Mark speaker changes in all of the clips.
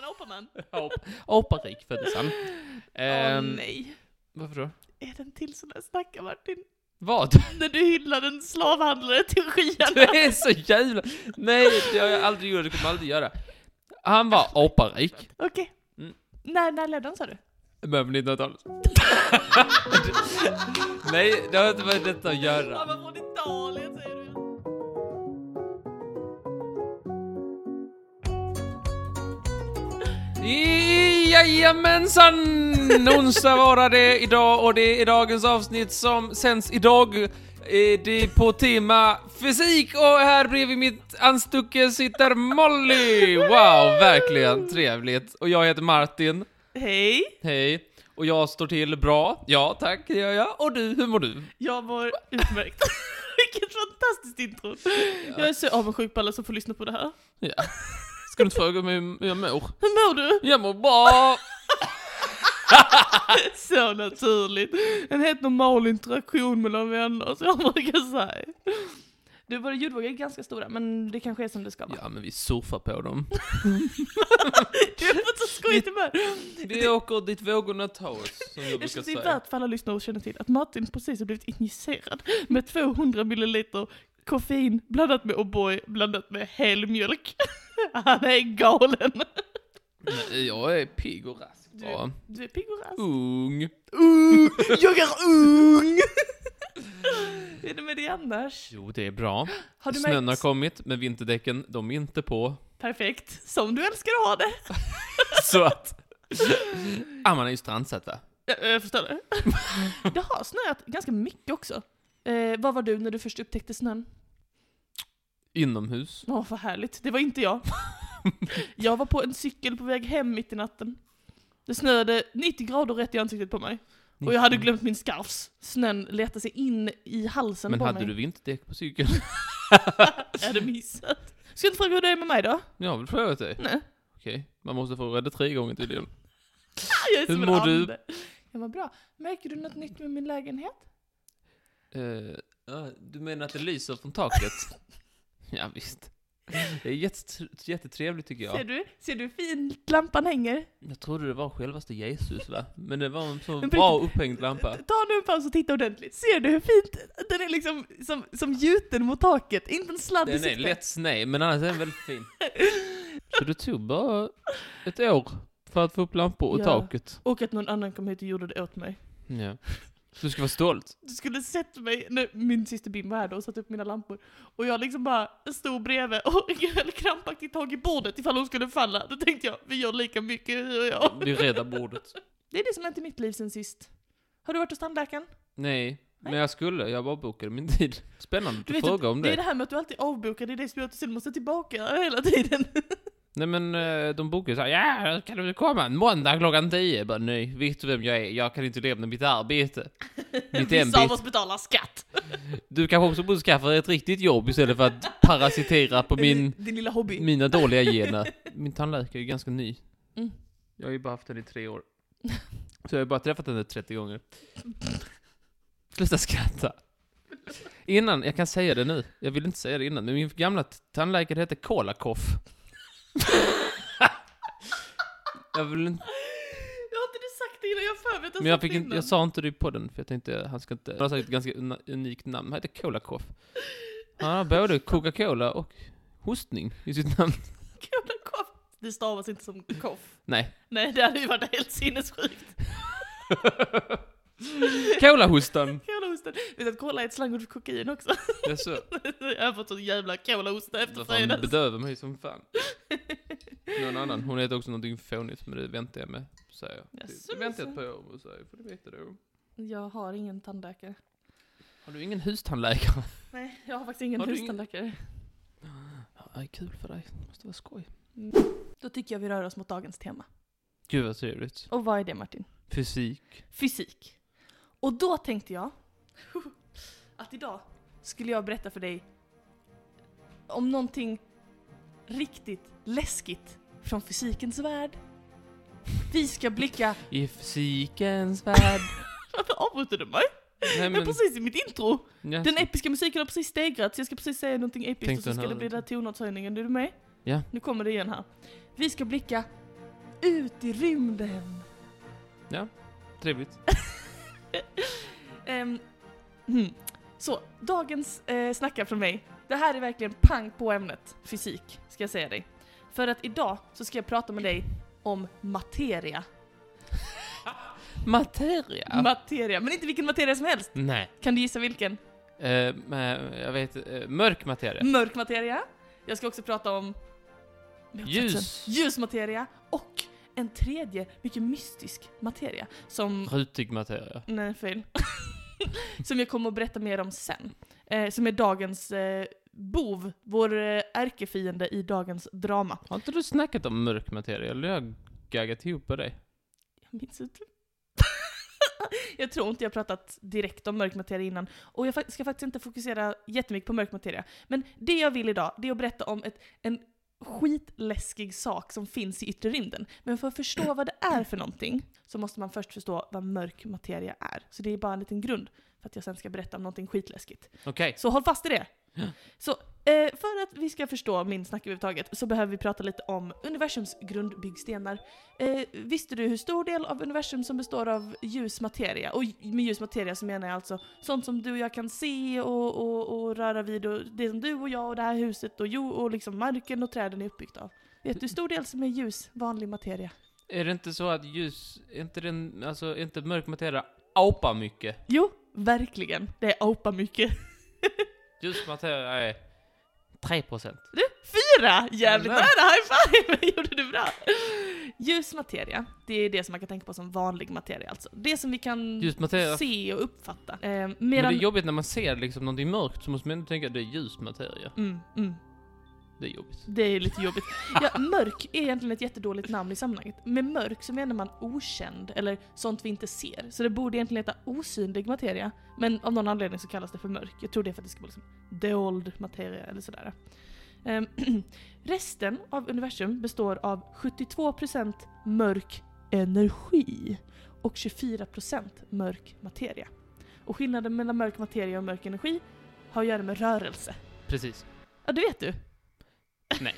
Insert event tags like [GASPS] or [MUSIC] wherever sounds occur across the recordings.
Speaker 1: Björnen?
Speaker 2: Ap- Aparik föddes han.
Speaker 1: Åh
Speaker 2: Ehm,
Speaker 1: nej.
Speaker 2: varför då?
Speaker 1: Är den till sån där snackar Martin?
Speaker 2: Vad? [LAUGHS]
Speaker 1: När du hyllade en slavhandlare till
Speaker 2: Du [LAUGHS]
Speaker 1: skyarna.
Speaker 2: är så jävla... Nej, det har jag aldrig gjort, det kommer jag aldrig göra. Han var aparik.
Speaker 1: Okej.
Speaker 2: Mm.
Speaker 1: När, när ledde han sa du?
Speaker 2: I början på 1900-talet. [LAUGHS] Nej, det har inte med detta att
Speaker 1: Han
Speaker 2: göra.
Speaker 1: var från Italien säger du.
Speaker 2: Jajamensan! Onsdag var det idag och det är dagens avsnitt som sänds idag. Eh, Det är på tema fysik och här bredvid mitt anstucke sitter Molly! Wow, verkligen trevligt. Och jag heter Martin.
Speaker 1: Hej.
Speaker 2: Hej. Och jag står till bra. Ja, tack, det gör jag. Och du, hur mår du?
Speaker 1: Jag mår [LAUGHS] utmärkt. Vilket fantastiskt intro. Jag är så avundsjuk på alla som får lyssna på det här.
Speaker 2: Ja. Ska du inte fråga mig hur jag mår?
Speaker 1: Hur mår du?
Speaker 2: Jag mår bra!
Speaker 1: Så naturligt. En helt normal interaktion mellan vänner, som jag brukar säga. Du, våra ljudvågor är ganska stora, men det kanske är som det ska [LAUGHS] vara.
Speaker 2: Ja, men vi surfar på dem.
Speaker 1: Du har fått så skojigt humör.
Speaker 2: Vi åker dit vågorna tar oss, som jag brukar
Speaker 1: Eftersom det är
Speaker 2: säga.
Speaker 1: värt för alla lyssnare att känna till att Martin precis har blivit injicerad med 200 milliliter koffein blandat med O'boy blandat med helmjölk. [LAUGHS] Han är galen.
Speaker 2: Nej, jag är pigg och rask.
Speaker 1: Du,
Speaker 2: Ja.
Speaker 1: du är pigg och rask.
Speaker 2: Ung.
Speaker 1: Ung! Uh, Jag är [LAUGHS] ung! Hur är det med dig annars?
Speaker 2: Jo, det är bra.
Speaker 1: Har du
Speaker 2: Snön har
Speaker 1: märkt?
Speaker 2: kommit, men vinterdäcken, de är inte på. [LAUGHS]
Speaker 1: Perfekt. Som du älskar att ha det.
Speaker 2: Så att... [LAUGHS] Ah, man är ju strandsatt va?
Speaker 1: Jag, jag förstår [LAUGHS] det. det har snöat ganska mycket också. Eh, vad var du när du först upptäckte snön?
Speaker 2: Inomhus.
Speaker 1: Åh, vad härligt. Det var inte
Speaker 2: [LAUGHS]
Speaker 1: jag. jag var på en cykel på väg hem mitt i natten. Det snöade 90 grader rätt i ansiktet på mig. Och jag hade glömt min scarfs. Snön letade sig in i halsen
Speaker 2: Men
Speaker 1: på
Speaker 2: hade
Speaker 1: mig.
Speaker 2: du vinterdäck på cykeln?
Speaker 1: [LAUGHS]
Speaker 2: [LAUGHS]
Speaker 1: Jag hade missat. Ska du inte fråga hur det är med mig då?
Speaker 2: Jag har väl frågat dig?
Speaker 1: Nej.
Speaker 2: Okej, man måste få rädda tre gånger tydligen.
Speaker 1: Jag är
Speaker 2: Hur
Speaker 1: som en
Speaker 2: mår du?
Speaker 1: ande. Jag mår bra. Märker du något nytt med min lägenhet?
Speaker 2: Eh, ja, du menar att det lyser från taket? [LAUGHS] ja, visst. Det är jättet- jättetrevligt tycker
Speaker 1: Ser
Speaker 2: jag.
Speaker 1: du? Ser du hur fint lampan hänger?
Speaker 2: Jag trodde det var självaste Jesus va? Men det var en så
Speaker 1: Men på
Speaker 2: bra upphängd lampa.
Speaker 1: Ta nu en paus och titta ordentligt. Ser du hur fint? Den är liksom som, som gjuten mot taket. Inte en sladd i
Speaker 2: Den är
Speaker 1: sikte.
Speaker 2: lätt sned, men annars är den väldigt
Speaker 1: [LAUGHS]
Speaker 2: fin. Så det tog bara ett år för att få upp lampor och
Speaker 1: Ja.
Speaker 2: taket.
Speaker 1: Och att någon annan kom hit och gjorde det åt mig.
Speaker 2: Ja. Du ska vara stolt.
Speaker 1: Du skulle sett mig när min syster Bim var här då och satte upp mina lampor. Och jag liksom bara stod bredvid och [LAUGHS] höll krampaktigt tag i bordet ifall hon skulle falla. Då tänkte jag, vi gör lika mycket du och jag.
Speaker 2: Vi räddar bordet.
Speaker 1: Det är det som har hänt i mitt liv sen sist. Har du varit hos tandläkaren?
Speaker 2: Nej, men jag skulle. Jag bara bokade min tid. Spännande
Speaker 1: Du
Speaker 2: att
Speaker 1: vet
Speaker 2: fråga om
Speaker 1: Det är det
Speaker 2: det.
Speaker 1: här med att du alltid avbokar, det är det som gör att du sen måste tillbaka hela tiden.
Speaker 2: Nej men eh, de bokade såhär, ja, kan du väl komma en måndag klockan 10? Jag bara, nej, vet du vem jag är? Jag kan inte lämna
Speaker 1: [LAUGHS]
Speaker 2: mitt arbete. Mitt
Speaker 1: Vissa av
Speaker 2: ämbete.
Speaker 1: oss betalar skatt.
Speaker 2: Du kanske också borde skaffa dig ett riktigt jobb istället för att parasitera på min,
Speaker 1: Din lilla hobby.
Speaker 2: mina dåliga gener. Min tandläkare är ganska ny.
Speaker 1: Mm.
Speaker 2: Jag har ju bara haft henne i tre år. Så jag har bara träffat henne 30 gånger. Sluta skratta. Innan, jag kan säga det nu. Jag ville inte säga det innan, men min gamla t- tandläkare hette Kolakoff. [LAUGHS] jag vill inte,
Speaker 1: Jag har inte du sagt det innan, jag har för mig att
Speaker 2: men jag,
Speaker 1: sagt det
Speaker 2: fick inte,
Speaker 1: innan.
Speaker 2: jag sa inte det på den för jag tänkte han ska inte... Han har sagt ett ganska una- unikt namn, han heter Kolakoff. Han har både Coca-Cola och hostning i sitt namn.
Speaker 1: Kul att koff. Det stavas inte som koff.
Speaker 2: Nej.
Speaker 1: Nej, det hade ju varit helt sinnessjukt.
Speaker 2: [LAUGHS] Colahostan!
Speaker 1: Kolaosten. Vet du att kola är ett slangord för kokain också?
Speaker 2: Jaså?
Speaker 1: [LAUGHS] Jag har fått sån jävla kolaosta efter
Speaker 2: Vad fan,
Speaker 1: fredags.
Speaker 2: bedövar mig som [LAUGHS] fan. Någon annan, hon heter också någonting fånigt, men det väntar jag med, säger jag. Det,
Speaker 1: Jaså,
Speaker 2: det väntar jag
Speaker 1: jaså.
Speaker 2: ett par år med, säger jag, får du veta då.
Speaker 1: Jag har ingen tandläkare.
Speaker 2: Har du ingen hustandläkare?
Speaker 1: Nej, jag har faktiskt ingen
Speaker 2: Har du ingen-
Speaker 1: hustandläkare.
Speaker 2: Ja, det är kul för dig, det måste vara skoj.
Speaker 1: Då tycker jag vi rör oss mot dagens tema.
Speaker 2: Gud vad trevligt.
Speaker 1: Och vad är det Martin?
Speaker 2: Fysik.
Speaker 1: Fysik. Och då tänkte
Speaker 2: [LAUGHS]
Speaker 1: jag att idag skulle jag berätta för dig om någonting riktigt läskigt från fysikens värld. Vi ska blicka...
Speaker 2: I fysikens värld.
Speaker 1: [LAUGHS] Varför avbryter du mig?
Speaker 2: Nej
Speaker 1: Jag är precis i mitt intro!
Speaker 2: ja,
Speaker 1: Den episka musiken har precis stegrats, jag ska precis säga någonting episkt
Speaker 2: Tänkte
Speaker 1: och så
Speaker 2: den
Speaker 1: ska
Speaker 2: här
Speaker 1: det bli den här tonartshöjningen. Är du med?
Speaker 2: Ja.
Speaker 1: Nu kommer det igen här. Vi ska blicka ut i rymden.
Speaker 2: Trevligt.
Speaker 1: [LAUGHS] Ehm, mm. Så, dagens eh, snackar från mig. Det här är verkligen pang på ämnet fysik, ska jag säga dig. För att idag så ska jag prata med dig om materia.
Speaker 2: Materia?
Speaker 1: Materia, men inte vilken materia som helst.
Speaker 2: Nej.
Speaker 1: Kan du gissa vilken?
Speaker 2: Eh, men jag vet eh, Mörk materia.
Speaker 1: Mörk materia. Jag ska också prata om
Speaker 2: Ljus.
Speaker 1: ljus materia och en tredje, mycket mystisk materia som...
Speaker 2: Rutig materia.
Speaker 1: Nej, fel. [LAUGHS] som jag kommer att berätta mer om sen. Eh, som är dagens eh, bov, vår eh, ärkefiende i dagens drama.
Speaker 2: Har inte du snackat om mörk materia? Eller har jag gaggat ihop på dig?
Speaker 1: Jag minns inte. [LAUGHS] jag tror inte jag pratat direkt om mörk materia innan. Och jag fa- ska faktiskt inte fokusera jättemycket på mörk materia. Men det jag vill idag, det är att berätta om ett, en skitläskig sak som finns i yttre rymden. Men för att förstå vad det är för någonting så måste man först förstå vad mörk materia är. Så det är bara en liten grund för att jag sen ska berätta om någonting skitläskigt.
Speaker 2: Okej.
Speaker 1: Så håll fast i det! Så eh, för att vi ska förstå min snack överhuvudtaget så behöver vi prata lite om universums grundbyggstenar. Eh, visste du hur stor del av universum som består av ljus materia? Och med ljus materia så menar jag alltså sånt som du och jag kan se och, och, och röra vid och det som du och jag och det här huset och, jo, och liksom marken och träden är uppbyggt av. Vet du hur stor del som är ljus, vanlig materia?
Speaker 2: Är det inte så att ljus, är inte den, alltså är inte mörk materia apar mycket?
Speaker 1: Jo, verkligen. Det är apa mycket.
Speaker 2: Ljus materia är 3%.
Speaker 1: Du, fyra! Jävligt
Speaker 2: Jävlar.
Speaker 1: nära, high five! [LAUGHS] Gjorde du bra? Ljus materia, det är det som man kan tänka på som vanlig materia alltså. Det som vi kan
Speaker 2: Ljus materia.
Speaker 1: se och uppfatta. Eh,
Speaker 2: Men det är
Speaker 1: medan...
Speaker 2: jobbigt när man ser liksom någonting mörkt så måste man ändå tänka att det är ljus materia.
Speaker 1: Mm, mm.
Speaker 2: Det är jobbigt.
Speaker 1: Det är lite jobbigt. Ja, mörk är egentligen ett jättedåligt namn i sammanhanget. Med mörk så menar man okänd, eller sånt vi inte ser. Så det borde egentligen heta osynlig materia. Men av någon anledning så kallas det för mörk. Jag tror det är för att det ska vara liksom dold materia eller sådär. Ehm, [CLEARS THROAT] resten av universum består av 72% mörk energi och 24% mörk materia. Och skillnaden mellan mörk materia och mörk energi har att göra med rörelse.
Speaker 2: Precis.
Speaker 1: Ja, det vet du.
Speaker 2: Nej.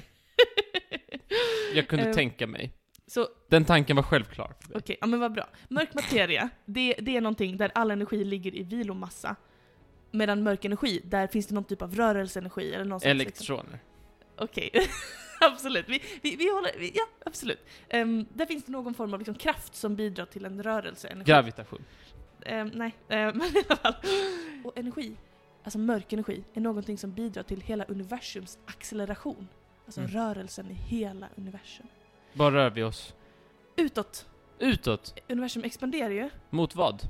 Speaker 2: Jag kunde
Speaker 1: Eh,
Speaker 2: tänka mig.
Speaker 1: Så
Speaker 2: Den tanken var självklar. för mig.
Speaker 1: [LAUGHS] Okej, ja men vad bra. Mörk materia, det, det är någonting där all energi ligger i vilomassa. Medan mörk energi, där finns det någon typ av rörelseenergi eller någon sorts-
Speaker 2: Elektroner.
Speaker 1: Okej. [LAUGHS] absolut. Vi, vi, vi håller... Vi, ja, absolut. Ehm, där finns det någon form av liksom kraft som bidrar till en rörelseenergi.
Speaker 2: Gravitation.
Speaker 1: Ehm, nej, ehm, [LAUGHS] men i alla fall. Och energi, alltså mörk energi, är någonting som bidrar till hela universums acceleration. Alltså
Speaker 2: Mm.
Speaker 1: rörelsen i hela universum.
Speaker 2: Bara rör vi oss.
Speaker 1: Utåt.
Speaker 2: Utåt.
Speaker 1: Universum expanderar ju
Speaker 2: Mot vad?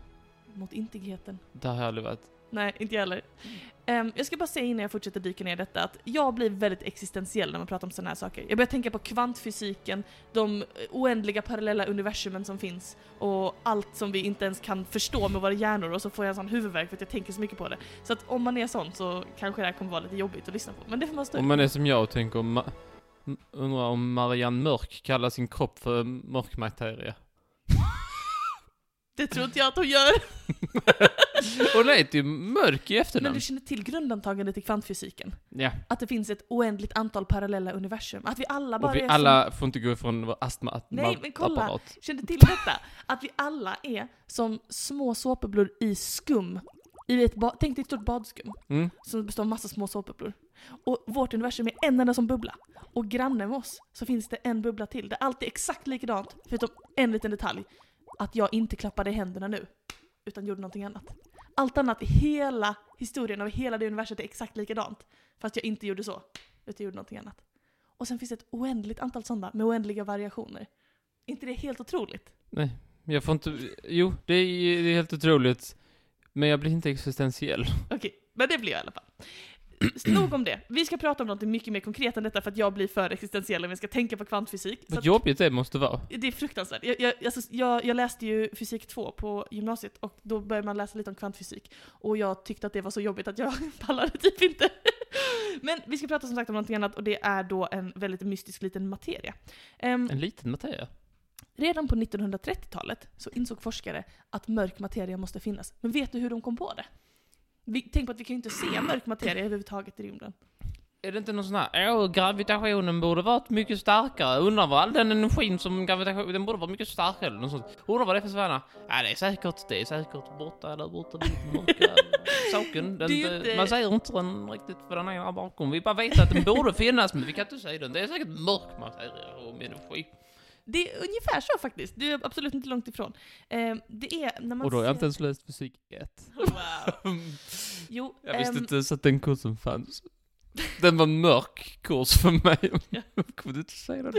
Speaker 1: mot intigheten.
Speaker 2: Det har jag aldrig varit.
Speaker 1: Nej, inte jag heller. Ehm, jag ska bara säga innan jag fortsätter dyka ner i detta att jag blir väldigt existentiell när man pratar om sådana här saker. Jag börjar tänka på kvantfysiken, de eh, oändliga parallella universumen som finns och allt som vi inte ens kan förstå med våra hjärnor och så får jag en sån huvudvärk för att jag tänker så mycket på det. Så att om man är sån så kanske det här kommer vara lite jobbigt att lyssna på. Men det får man stå ut
Speaker 2: Om man är som jag och tänker om... Ma- m- undrar om Marianne Mörk kallar sin kropp för
Speaker 1: [LAUGHS]
Speaker 2: mörk materia.
Speaker 1: Det tror inte jag att hon
Speaker 2: [LAUGHS]
Speaker 1: gör.
Speaker 2: Och nej, det är ju mörk i
Speaker 1: Men
Speaker 2: efternamn.
Speaker 1: du känner till grundantagandet i kvantfysiken?
Speaker 2: Ja.
Speaker 1: Att det finns ett oändligt antal parallella universum? Att vi alla bara
Speaker 2: Och vi
Speaker 1: är som...
Speaker 2: alla får inte gå ifrån vår
Speaker 1: Nej, men kolla.
Speaker 2: astmaapparat.
Speaker 1: Kände till detta? Att vi alla är som små såpbubblor i skum. I ett ba- Tänk dig ett stort badskum
Speaker 2: Mm.
Speaker 1: som består av massa små såpbubblor. Och vårt universum är en enda som bubbla. Och granne med oss så finns det en bubbla till. Det är alltid exakt likadant, förutom en liten detalj. Att jag inte klappade i händerna nu, utan gjorde någonting annat. Allt annat i hela historien av hela det universet är exakt likadant. Fast jag inte gjorde så, utan gjorde någonting annat. Och sen finns det ett oändligt antal sådana med oändliga variationer. inte det helt otroligt?
Speaker 2: Nej, jag får inte... Jo, det är, ju- det är helt otroligt. Men jag blir inte existentiell.
Speaker 1: Okej, men det blir jag i alla fall. Nog om det. Vi ska prata om något mycket mer konkret än detta för att jag blir för existentiell om jag ska tänka på kvantfysik. Så
Speaker 2: Vad
Speaker 1: att-
Speaker 2: jobbigt det måste vara.
Speaker 1: Det är fruktansvärt. Jag, jag, alltså, jag, jag läste ju fysik 2 på gymnasiet och då började man läsa lite om kvantfysik. Och jag tyckte att det var så jobbigt att jag [LAUGHS] pallade typ inte. Men vi ska prata som sagt om någonting annat och det är då en väldigt mystisk liten materia. Ehm,
Speaker 2: En liten materia.
Speaker 1: redan på 1930-talet så insåg forskare att mörk materia måste finnas. Men vet du hur de kom på det? Vi, tänk på att vi kan ju inte se mörk materia överhuvudtaget i rymden.
Speaker 2: Är det inte någon sån här, åh gravitationen borde varit mycket starkare, undrar vad all den energin som gravitation, den borde vara mycket starkare eller något sånt. Undrar vad det är för sväna? Ja det är säkert, det är säkert borta där borta vid
Speaker 1: [LAUGHS]
Speaker 2: den mörka saken. Den,
Speaker 1: Det är ju
Speaker 2: eh,
Speaker 1: inte-
Speaker 2: Man säger inte den riktigt vad den är där bakom. Vi bara vet att den borde finnas men vi kan inte säga den. Det är säkert mörk materia om energi.
Speaker 1: Det är ungefär så faktiskt. Du är absolut inte långt ifrån. Eh, det är när man
Speaker 2: Och då har
Speaker 1: ser... [LAUGHS]
Speaker 2: jag inte ens läst fysik [LAUGHS] 1.
Speaker 1: Wow. Jo,
Speaker 2: Jag visste
Speaker 1: ehm,
Speaker 2: inte ens att den kursen fanns. Den var en mörk kurs för [LAUGHS] mig. Jag kunde inte säga det.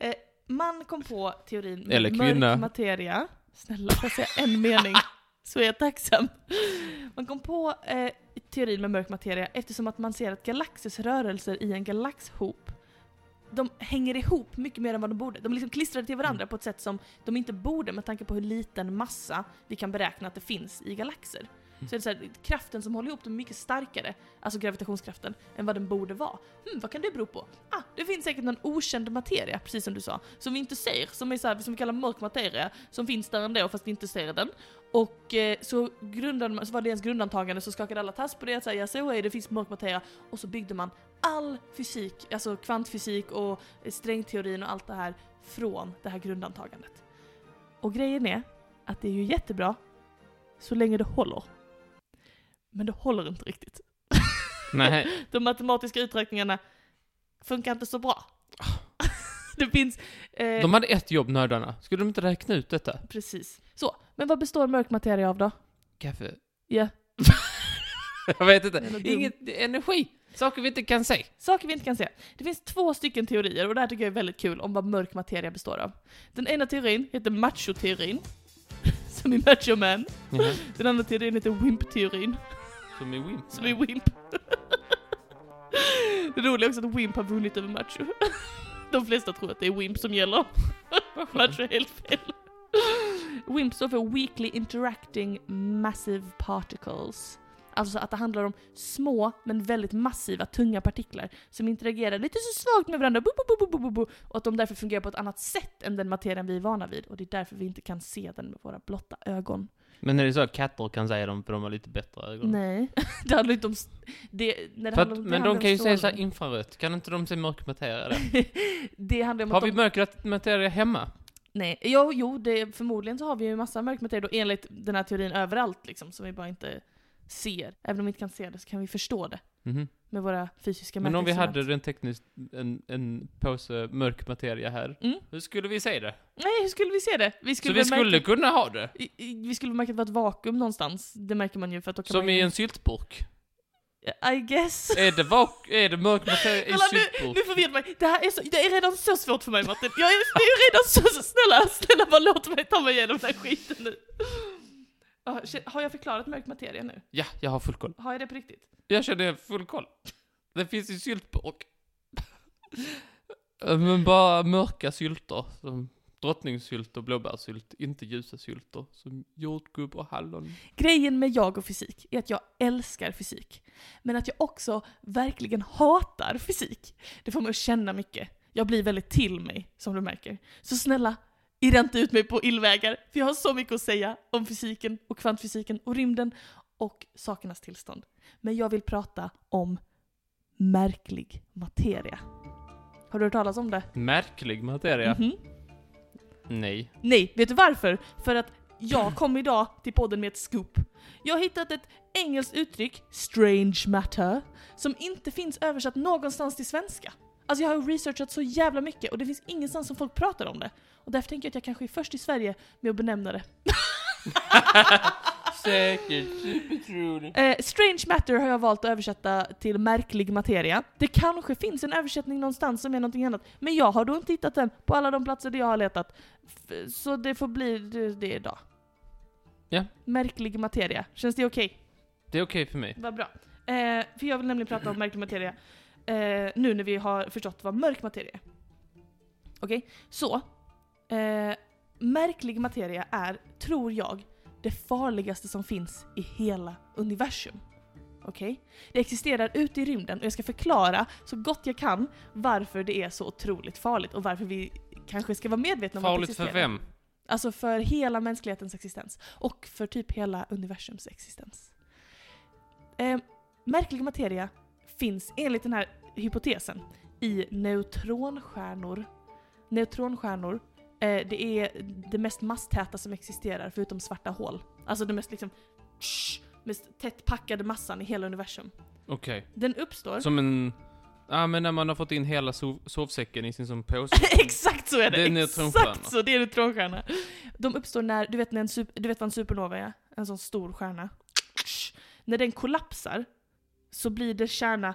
Speaker 1: Eh, man kom på teorin med
Speaker 2: Eller kvinna.
Speaker 1: mörk materia. Snälla, får jag säga en
Speaker 2: [LAUGHS]
Speaker 1: mening? Så är jag tacksam. Man kom på eh, teorin med mörk materia eftersom att man ser att galaxers rörelser i en galaxhop de hänger ihop mycket mer än vad de borde. De är liksom klistrade till
Speaker 2: Mm.
Speaker 1: varandra på ett sätt som de inte borde med tanke på hur liten massa vi kan beräkna att det finns i galaxer.
Speaker 2: Mm.
Speaker 1: Så är det så här, kraften som håller ihop dem är mycket starkare, alltså gravitationskraften, än vad den borde vara. Hmm, vad kan det bero på? Ah, det finns säkert någon okänd materia, precis som du sa, som vi inte ser, som, är så här, som vi kallar mörk materia, som finns där ändå fast vi inte ser den. Och eh, så, grundade, så var det ens grundantagande, så skakade alla tass på det, att säga ja så är det, det finns mörk materia. Och så byggde man all fysik, alltså kvantfysik och strängteorin och allt det här från det här grundantagandet. Och grejen är att det är ju jättebra så länge det håller. Men det håller inte riktigt.
Speaker 2: Nej.
Speaker 1: [LAUGHS] De matematiska uträkningarna funkar inte så bra. [LAUGHS] Det finns... Eh,
Speaker 2: Ah. De hade ett jobb, nördarna. Skulle de inte räkna ut detta?
Speaker 1: Precis. Så, men vad består mörk materia av då?
Speaker 2: Kaffe?
Speaker 1: Ja,
Speaker 2: [LAUGHS] Jag vet
Speaker 1: Jävla
Speaker 2: inte.
Speaker 1: dum.
Speaker 2: Inget energi. Saker vi inte kan se.
Speaker 1: Saker vi inte kan se. Det finns två stycken teorier och det här tycker jag är väldigt kul om vad mörk materia består av. Den ena teorin heter machoteorin, [LAUGHS] som är macho man. Den andra teorin heter wimp-teorin,
Speaker 2: Som i Wimp.
Speaker 1: som är wimp. [LAUGHS] Det roliga är också att wimp har vunnit över macho. [LAUGHS] De flesta tror att det är wimp som gäller. Macho är helt fel. Wimp står för Weekly Interacting Massive Particles. Alltså att det handlar om små men väldigt massiva tunga partiklar som interagerar lite så svagt med varandra bo, bo, bo, bo, bo, bo, och att de därför fungerar på ett annat sätt än den materien vi är vana vid och det är därför vi inte kan se den med våra blotta ögon.
Speaker 2: Men är det så att katter kan säga dem för de har lite bättre ögon?
Speaker 1: Nej, [LAUGHS] det handlar inte om... s- Det, när det
Speaker 2: För
Speaker 1: handlar
Speaker 2: att,
Speaker 1: om
Speaker 2: men
Speaker 1: det
Speaker 2: de kan ju säga
Speaker 1: så
Speaker 2: såhär infrarött. Kan inte de se
Speaker 1: [LAUGHS]
Speaker 2: mörk materia där?
Speaker 1: Det handlar om
Speaker 2: Har
Speaker 1: att
Speaker 2: vi
Speaker 1: de...
Speaker 2: mörk materia hemma?
Speaker 1: Nej, jo, jo det, förmodligen så har vi ju massa mörk materia då, enligt den här teorin överallt liksom, som vi bara inte ser. Även om vi inte kan se det så kan vi förstå det
Speaker 2: Mhm.
Speaker 1: med våra fysiska
Speaker 2: Men om vi
Speaker 1: mätinstrument.
Speaker 2: hade rent tekniskt en, en påse mörk materia här,
Speaker 1: Mm.
Speaker 2: hur skulle vi se det?
Speaker 1: Nej, hur skulle vi se det? Vi
Speaker 2: Så
Speaker 1: skulle,
Speaker 2: vi
Speaker 1: väl
Speaker 2: skulle
Speaker 1: märka...
Speaker 2: kunna ha det?
Speaker 1: I- i- Vi skulle märka att det var ett vakuum någonstans, det märker man ju för att då kan
Speaker 2: Som
Speaker 1: man
Speaker 2: i
Speaker 1: ju...
Speaker 2: en syltburk?
Speaker 1: I guess.
Speaker 2: Är det, vak- är det mörk materia i
Speaker 1: Kolla nu,
Speaker 2: syltburk?
Speaker 1: nu förvirrar mig. Det här är, så, det är redan så svårt för mig Martin. Jag är, det är redan så, så snälla, snälla bara låt mig ta mig igenom den här skiten nu. Ja, shit, Har jag förklarat mörk materia nu?
Speaker 2: Ja, jag har full koll.
Speaker 1: Har jag det på riktigt?
Speaker 2: Jag känner full koll. Det finns ju syltburk. [LAUGHS] Men bara mörka sylter. Som drottningssylt och blåbärssylt. Inte ljusa sylter. Som jordgubb och hallon.
Speaker 1: Grejen med jag och fysik är att jag älskar fysik. Men att jag också verkligen hatar fysik. Det får mig att känna mycket. Jag blir väldigt till mig, som du märker. Så snälla, irra inte ut mig på illvägar, för jag har så mycket att säga om fysiken och kvantfysiken och rymden och sakernas tillstånd. Men jag vill prata om märklig materia. Har du hört talas om det?
Speaker 2: Märklig materia.
Speaker 1: Mhm.
Speaker 2: [LAUGHS] Nej.
Speaker 1: Nej, vet du varför? För att jag kom idag till podden med ett scoop. Jag har hittat ett engelskt uttryck, strange matter, som inte finns översatt någonstans till svenska. Alltså jag har researchat så jävla mycket och det finns ingenstans som folk pratar om det. Och därför tänker jag att jag kanske är först i Sverige med att benämna det.
Speaker 2: [LAUGHS] Säkert. Supertroligt.
Speaker 1: Eh, strange matter har jag valt att översätta till märklig materia. Det kanske finns en översättning någonstans som är någonting annat, men jag har då inte hittat den på alla de platser där jag har letat. F- så det får bli det, det idag.
Speaker 2: Ja.
Speaker 1: Märklig materia. Känns det okej?
Speaker 2: Det är okej för mig.
Speaker 1: Vad bra. Eh, för jag vill nämligen prata om märklig materia eh, nu när vi har förstått vad mörk materia är. Okej, så. Eh, märklig materia är, tror jag, det farligaste som finns i hela universum. Okej? Det existerar ute i rymden och jag ska förklara så gott jag kan varför det är så otroligt farligt och varför vi kanske ska vara medvetna om att det
Speaker 2: Farligt för
Speaker 1: existerar.
Speaker 2: vem?
Speaker 1: Alltså för hela mänsklighetens existens. Och för typ hela universums existens. Eh, Ehm, märklig materia finns enligt den här hypotesen i neutronstjärnor. Neutronstjärnor, eh, det är det mest masstäta som existerar förutom svarta hål. Alltså det mest liksom tsch, mest tätt packade massan i hela universum.
Speaker 2: Okej.
Speaker 1: Den uppstår...
Speaker 2: Som en... Ja men när man har fått in hela sov sovsäcken i sin
Speaker 1: [LAUGHS]
Speaker 2: som påse.
Speaker 1: Exakt så är det!
Speaker 2: Det är neutronstjärna.
Speaker 1: Exakt så, det är neutronstjärna. De uppstår när, du vet, när en sup- du vet vad en supernova är? En sån stor stjärna. När den kollapsar så blir det kärna,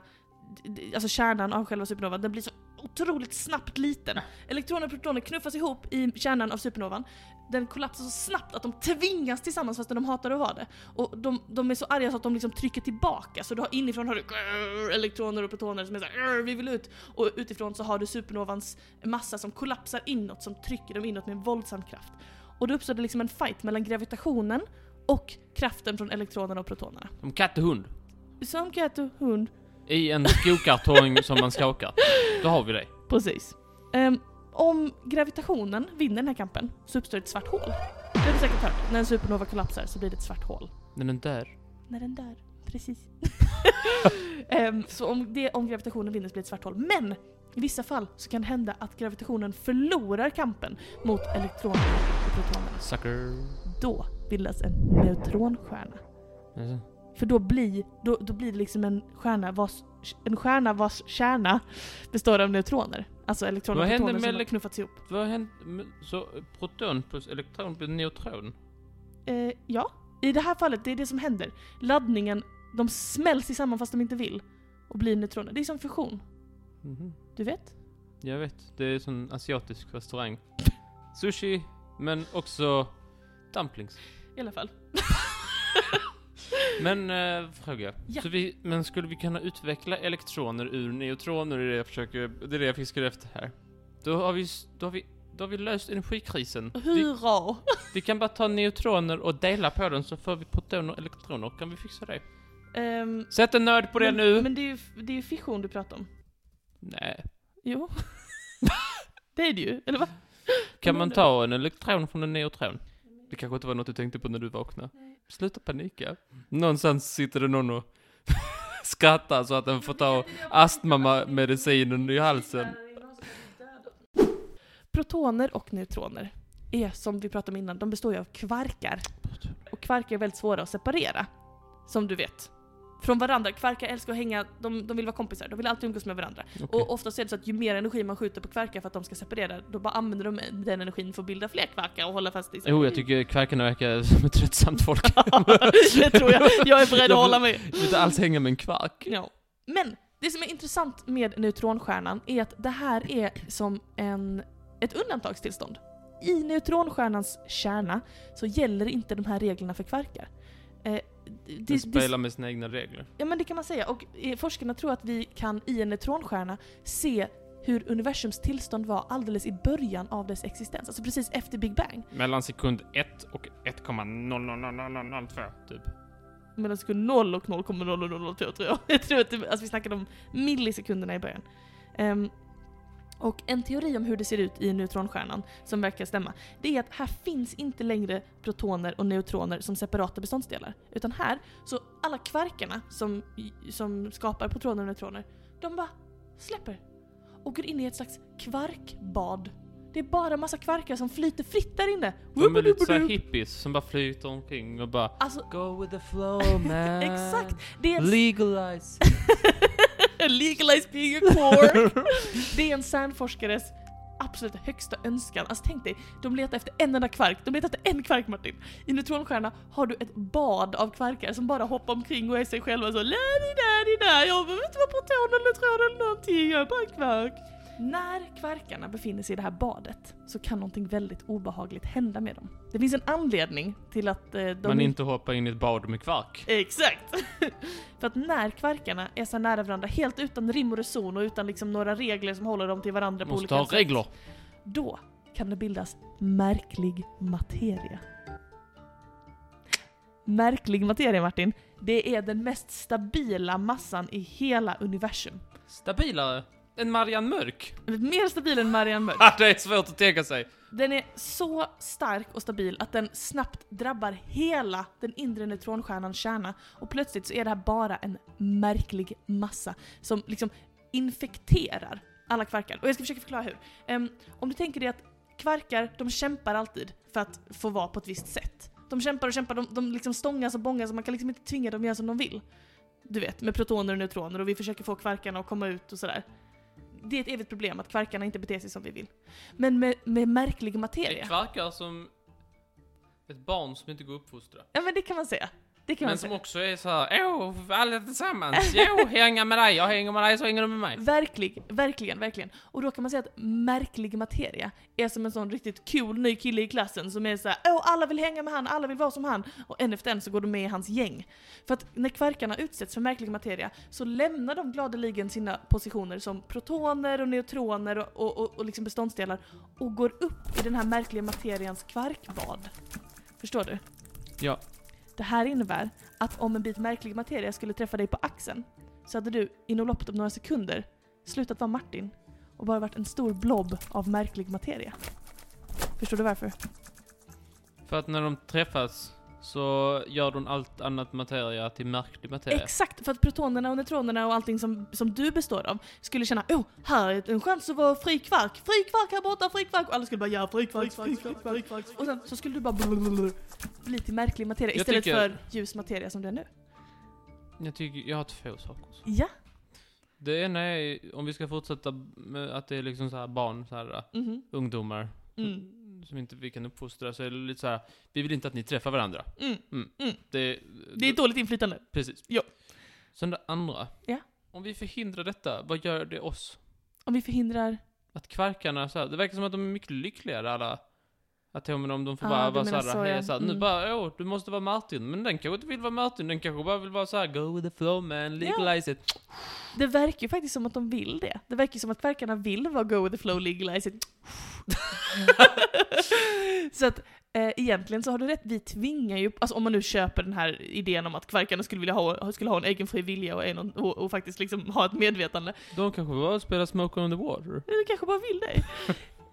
Speaker 1: d- d- alltså kärnan av själva supernovan, den blir så otroligt snabbt liten. Elektroner och protoner knuffas ihop i kärnan av supernovan. Den kollapsar så snabbt att de tvingas tillsammans fastän de hatar att vara det. Och de, de är så arga så att de liksom trycker tillbaka, så du har, inifrån har du grrr, elektroner och protoner som är såhär vi vill ut. Och utifrån så har du supernovans massa som kollapsar inåt, som trycker dem inåt med en våldsam kraft. Och då uppstår det liksom en fight mellan gravitationen och kraften från elektronerna och protonerna.
Speaker 2: Som katt och hund.
Speaker 1: Som katt och hund.
Speaker 2: I en skokartong som man skakar. Då har vi det.
Speaker 1: Precis. Ehm, om gravitationen vinner den här kampen så uppstår ett svart hål. Det har du säkert hört. När en supernova kollapsar så blir det ett svart hål.
Speaker 2: Den är där.
Speaker 1: När den dör. Precis. [LAUGHS] Ehm, så om, det, om gravitationen vinner så blir det ett svart hål. Men i vissa fall så kan det hända att gravitationen förlorar kampen mot elektronerna och protonerna.
Speaker 2: Sucker.
Speaker 1: Då bildas en neutronstjärna.
Speaker 2: Jaså?
Speaker 1: För då blir, då, då blir det liksom en stjärna, vars, en stjärna vars kärna består av neutroner. Alltså elektroner
Speaker 2: Vad
Speaker 1: och
Speaker 2: händer
Speaker 1: protoner som
Speaker 2: med
Speaker 1: har
Speaker 2: elek-
Speaker 1: knuffats ihop.
Speaker 2: Vad hände? Så proton plus elektron plus neutron?
Speaker 1: Eh, ja, i det här fallet, det är det som händer. Laddningen, de smälts samman fast de inte vill. Och blir neutroner. Det är som fusion.
Speaker 2: Mhm.
Speaker 1: Du vet?
Speaker 2: Jag vet. Det är sån asiatisk restaurang. Sushi, men också dumplings.
Speaker 1: I alla fall.
Speaker 2: Men, eh, fråga.
Speaker 1: Ja.
Speaker 2: Så vi, men skulle vi kunna utveckla elektroner ur neutroner? Det är det jag försöker, det är det jag fiskar efter här. Då har vi, s- då har vi, då har vi löst energikrisen. Vi,
Speaker 1: Hurra!
Speaker 2: vi kan bara ta neutroner och dela på dem så får vi protoner och elektroner. Kan vi fixa det?
Speaker 1: Ehm,
Speaker 2: Sätt en nörd på det
Speaker 1: men,
Speaker 2: nu!
Speaker 1: Men det är ju det är ju fission du pratar om.
Speaker 2: Nej. [LAUGHS]
Speaker 1: Jo. det är det ju, eller va?
Speaker 2: Kan
Speaker 1: Men
Speaker 2: man
Speaker 1: undrar-
Speaker 2: ta en elektron från en neutron? Det kanske inte var något du tänkte på när du vaknade. Sluta panika. Någonstans sitter det någon och [LAUGHS] skrattar så att den får ta astmamedicinen i halsen.
Speaker 1: Protoner och neutroner är som vi pratade om innan, de består ju av kvarkar. Och kvarkar är väldigt svåra att separera. Som du vet. Från varandra. Kvarkar älskar att hänga, de, de vill vara kompisar, de vill alltid umgås med varandra.
Speaker 2: Okej.
Speaker 1: Och oftast är det så att ju mer energi man skjuter på kvarkar för att de ska separera, då bara använder de den energin för att bilda fler kvarkar och hålla fast i sig.
Speaker 2: Jo, Oh, jag tycker kvarkarna verkar som ett tröttsamt folk.
Speaker 1: [LAUGHS] det tror jag. Jag är beredd att hålla med.
Speaker 2: Jag vill inte alls hänga med en kvark.
Speaker 1: Ja. Men det som är intressant med neutronstjärnan är att det här är som en, ett undantagstillstånd. I neutronstjärnans kärna så gäller inte de här reglerna för kvarkar. Eh, det-
Speaker 2: Den
Speaker 1: det, det,
Speaker 2: spelar med sina egna regler.
Speaker 1: ja men det kan man säga. Och eh, forskarna tror att vi kan i en neutronstjärna se hur universums tillstånd var alldeles i början av dess existens. Alltså precis efter Big Bang.
Speaker 2: Mellan sekund 1 och 1,00002 typ.
Speaker 1: Mellan sekund 0 och 0,0002 tror jag. [LAUGHS] Jag tror att det, alltså vi snackade om millisekunderna i början. Ehm, och en teori om hur det ser ut i neutronstjärnan, som verkar stämma, det är att här finns inte längre protoner och neutroner som separata beståndsdelar. Utan här, så alla kvarkarna som, som skapar protoner och neutroner, de bara släpper. Och går in i ett slags kvarkbad. Det är bara massa kvarkar som flyter fritt där inne.
Speaker 2: De är lite såhär hippies som bara flyter omkring och bara
Speaker 1: Alltså,
Speaker 2: Go with the flow man.
Speaker 1: [LAUGHS] Exakt. det är en
Speaker 2: Legalize.
Speaker 1: [LAUGHS] Legalize being a
Speaker 2: [LAUGHS]
Speaker 1: cork! Det är en CERN-forskares absolut högsta önskan. Alltså tänk dig, de letar efter en enda kvark. De letar efter en kvark Martin. I neutronstjärna har du ett bad av kvarkar som bara hoppar omkring och är sig själva så la-di-da-di-da, jag behöver inte vara proton eller neutron eller någonting, jag är bara en kvark. När kvarkarna befinner sig i det här badet så kan någonting väldigt obehagligt hända med dem. Det finns en anledning till att eh, de
Speaker 2: Man inte hoppar in i ett bad med kvark.
Speaker 1: Exakt! [LAUGHS] För att när kvarkarna är så nära varandra, helt utan rim och reson och utan liksom några regler som håller dem till varandra på
Speaker 2: Måste
Speaker 1: olika
Speaker 2: ha
Speaker 1: sätt,
Speaker 2: regler.
Speaker 1: då kan det bildas märklig materia. Märklig materia Martin, det är den mest stabila massan i hela universum.
Speaker 2: Stabilare än Marianne [LAUGHS] Mörk?
Speaker 1: Mer stabil än Marianne Mörk.
Speaker 2: Ah, det är svårt att tänka sig.
Speaker 1: Den är så stark och stabil att den snabbt drabbar hela den inre neutronstjärnans kärna och plötsligt så är det här bara en märklig massa som liksom infekterar alla kvarkar. Och jag ska försöka förklara hur. Ehm, om du tänker dig att kvarkar, de kämpar alltid för att få vara på ett visst sätt. De kämpar och kämpar, de, de liksom stångas och bångas och man kan liksom inte tvinga dem att göra som de vill. Du vet, med protoner och neutroner och vi försöker få kvarkarna att komma ut och sådär. Det är ett evigt problem att kvarkarna inte beter sig som vi vill. Men med, med märklig materia.
Speaker 2: Kvarkar som ett barn som inte går att uppfostra.
Speaker 1: Ja men det kan man säga. Det kan man
Speaker 2: Men som
Speaker 1: säga.
Speaker 2: också är så här, åh, alla tillsammans, jo, hänga med dig, jag hänger med dig så hänger du med mig.
Speaker 1: Verklig, verkligen, verkligen. Och då kan man säga att märklig materia är som en sån riktigt cool ny kille i klassen som är såhär åh alla vill hänga med han, alla vill vara som han. Och en efter en så går de med i hans gäng. För att när kvarkarna utsätts för märklig materia så lämnar de gladeligen sina positioner som protoner och neutroner och, och, och, och liksom beståndsdelar och går upp i den här märkliga materians kvarkbad. Förstår du?
Speaker 2: Ja.
Speaker 1: Det här innebär att om en bit märklig materia skulle träffa dig på axeln så hade du inom loppet av några sekunder slutat vara Martin och bara varit en stor blob av märklig materia. Förstår du varför?
Speaker 2: För att när de träffas så gör de allt annat materia till märklig materia.
Speaker 1: Exakt! För att protonerna och neutronerna och allting som, som du består av skulle känna oh, här är en chans att vara fri kvark, fri kvark här borta, fri kvark! Och alla skulle bara ja, fri kvark, fri kvark, fri kvark. Och sen så skulle du bara [LAUGHS] blablabla bli till märklig materia
Speaker 2: Jag
Speaker 1: istället
Speaker 2: tycker-
Speaker 1: för ljus materia som det är nu.
Speaker 2: jag tycker, jag har två saker.
Speaker 1: Ja!
Speaker 2: Det ena är, om vi ska fortsätta med att det är liksom så här barn, så här,
Speaker 1: Mhm.
Speaker 2: ungdomar,
Speaker 1: Mm.
Speaker 2: som inte vi kan uppfostra, så är det lite så här, vi vill inte att ni träffar varandra.
Speaker 1: Mm.
Speaker 2: Det,
Speaker 1: Det är dåligt inflytande.
Speaker 2: Precis.
Speaker 1: Ja.
Speaker 2: Sen det andra.
Speaker 1: Ja.
Speaker 2: Om vi förhindrar detta, vad gör det oss?
Speaker 1: Om vi förhindrar
Speaker 2: Att kvarkarna så här, det verkar som att de är mycket lyckligare alla atomerna om de får
Speaker 1: Ah,
Speaker 2: bara
Speaker 1: du
Speaker 2: vara
Speaker 1: menar
Speaker 2: såhär,
Speaker 1: så,
Speaker 2: så,
Speaker 1: ja.
Speaker 2: ja. nu
Speaker 1: Mm.
Speaker 2: bara, åh, du måste vara Martin. Men den kanske inte vill vara Martin, den kanske bara vill vara så här: go with the flow man, legalize it.
Speaker 1: Det verkar ju faktiskt som att de vill det. Det verkar ju som att kvarkarna vill vara go with the flow legalize it. [LAUGHS] så att eh, egentligen så har du rätt, vi tvingar ju, alltså om man nu köper den här idén om att kvarkarna skulle vilja ha, skulle ha en egen fri vilja och, en, och, och faktiskt liksom ha ett medvetande.
Speaker 2: De kanske bara spelar Smoke on the water.
Speaker 1: Du kanske bara vill
Speaker 2: [LAUGHS]
Speaker 1: det.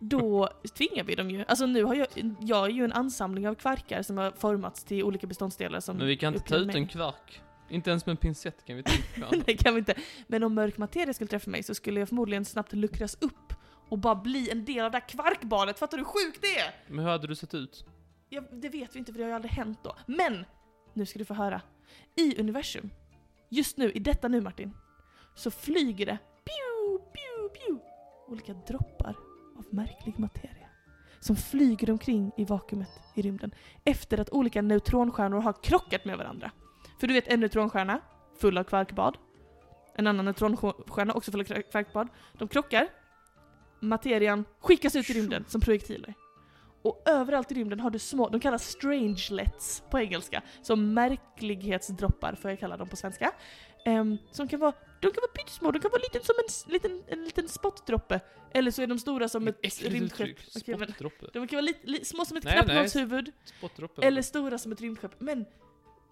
Speaker 1: Då tvingar vi dem ju. Alltså nu har jag, jag är ju en ansamling av kvarkar som har formats till olika beståndsdelar som
Speaker 2: Men vi kan inte ta
Speaker 1: upplever
Speaker 2: ut
Speaker 1: mig.
Speaker 2: en kvark. Inte ens med en pincett kan vi ta ut varandra.
Speaker 1: [LAUGHS] Nej, kan vi inte. Men om mörk materia skulle träffa mig så skulle jag förmodligen snabbt luckras upp och bara bli en del av det här kvarkbadet. Fattar du hur sjukt det är?
Speaker 2: Men hur hade du sett ut?
Speaker 1: Ja, det vet vi inte för det har ju aldrig hänt då. Men! Nu ska du få höra. I universum, just nu, i detta nu Martin, så flyger det pew, pew, pew, olika droppar av märklig materia som flyger omkring i vakuumet i rymden efter att olika neutronstjärnor har krockat med varandra. För du vet en neutronstjärna full av kvarkbad, en annan neutronstjärna också full av kvark- kvarkbad. De krockar, materian skickas ut i rymden som projektiler. Och överallt i rymden har du små, de kallas strangelets på engelska, som märklighetsdroppar får jag kalla dem på svenska. Ehm, som kan vara, de kan vara pyttesmå, de kan vara liten som en, s- liten, en liten spottdroppe. Eller så är de stora som ett
Speaker 2: Äckligt
Speaker 1: rymdskepp.
Speaker 2: uttryck.
Speaker 1: Okej, men-
Speaker 2: Spottdroppe.
Speaker 1: De kan vara lite, li, små som ett
Speaker 2: typ Nej, nej.
Speaker 1: knappnålshuvud,
Speaker 2: Spottdroppe.
Speaker 1: eller stora som ett rymdskepp. Men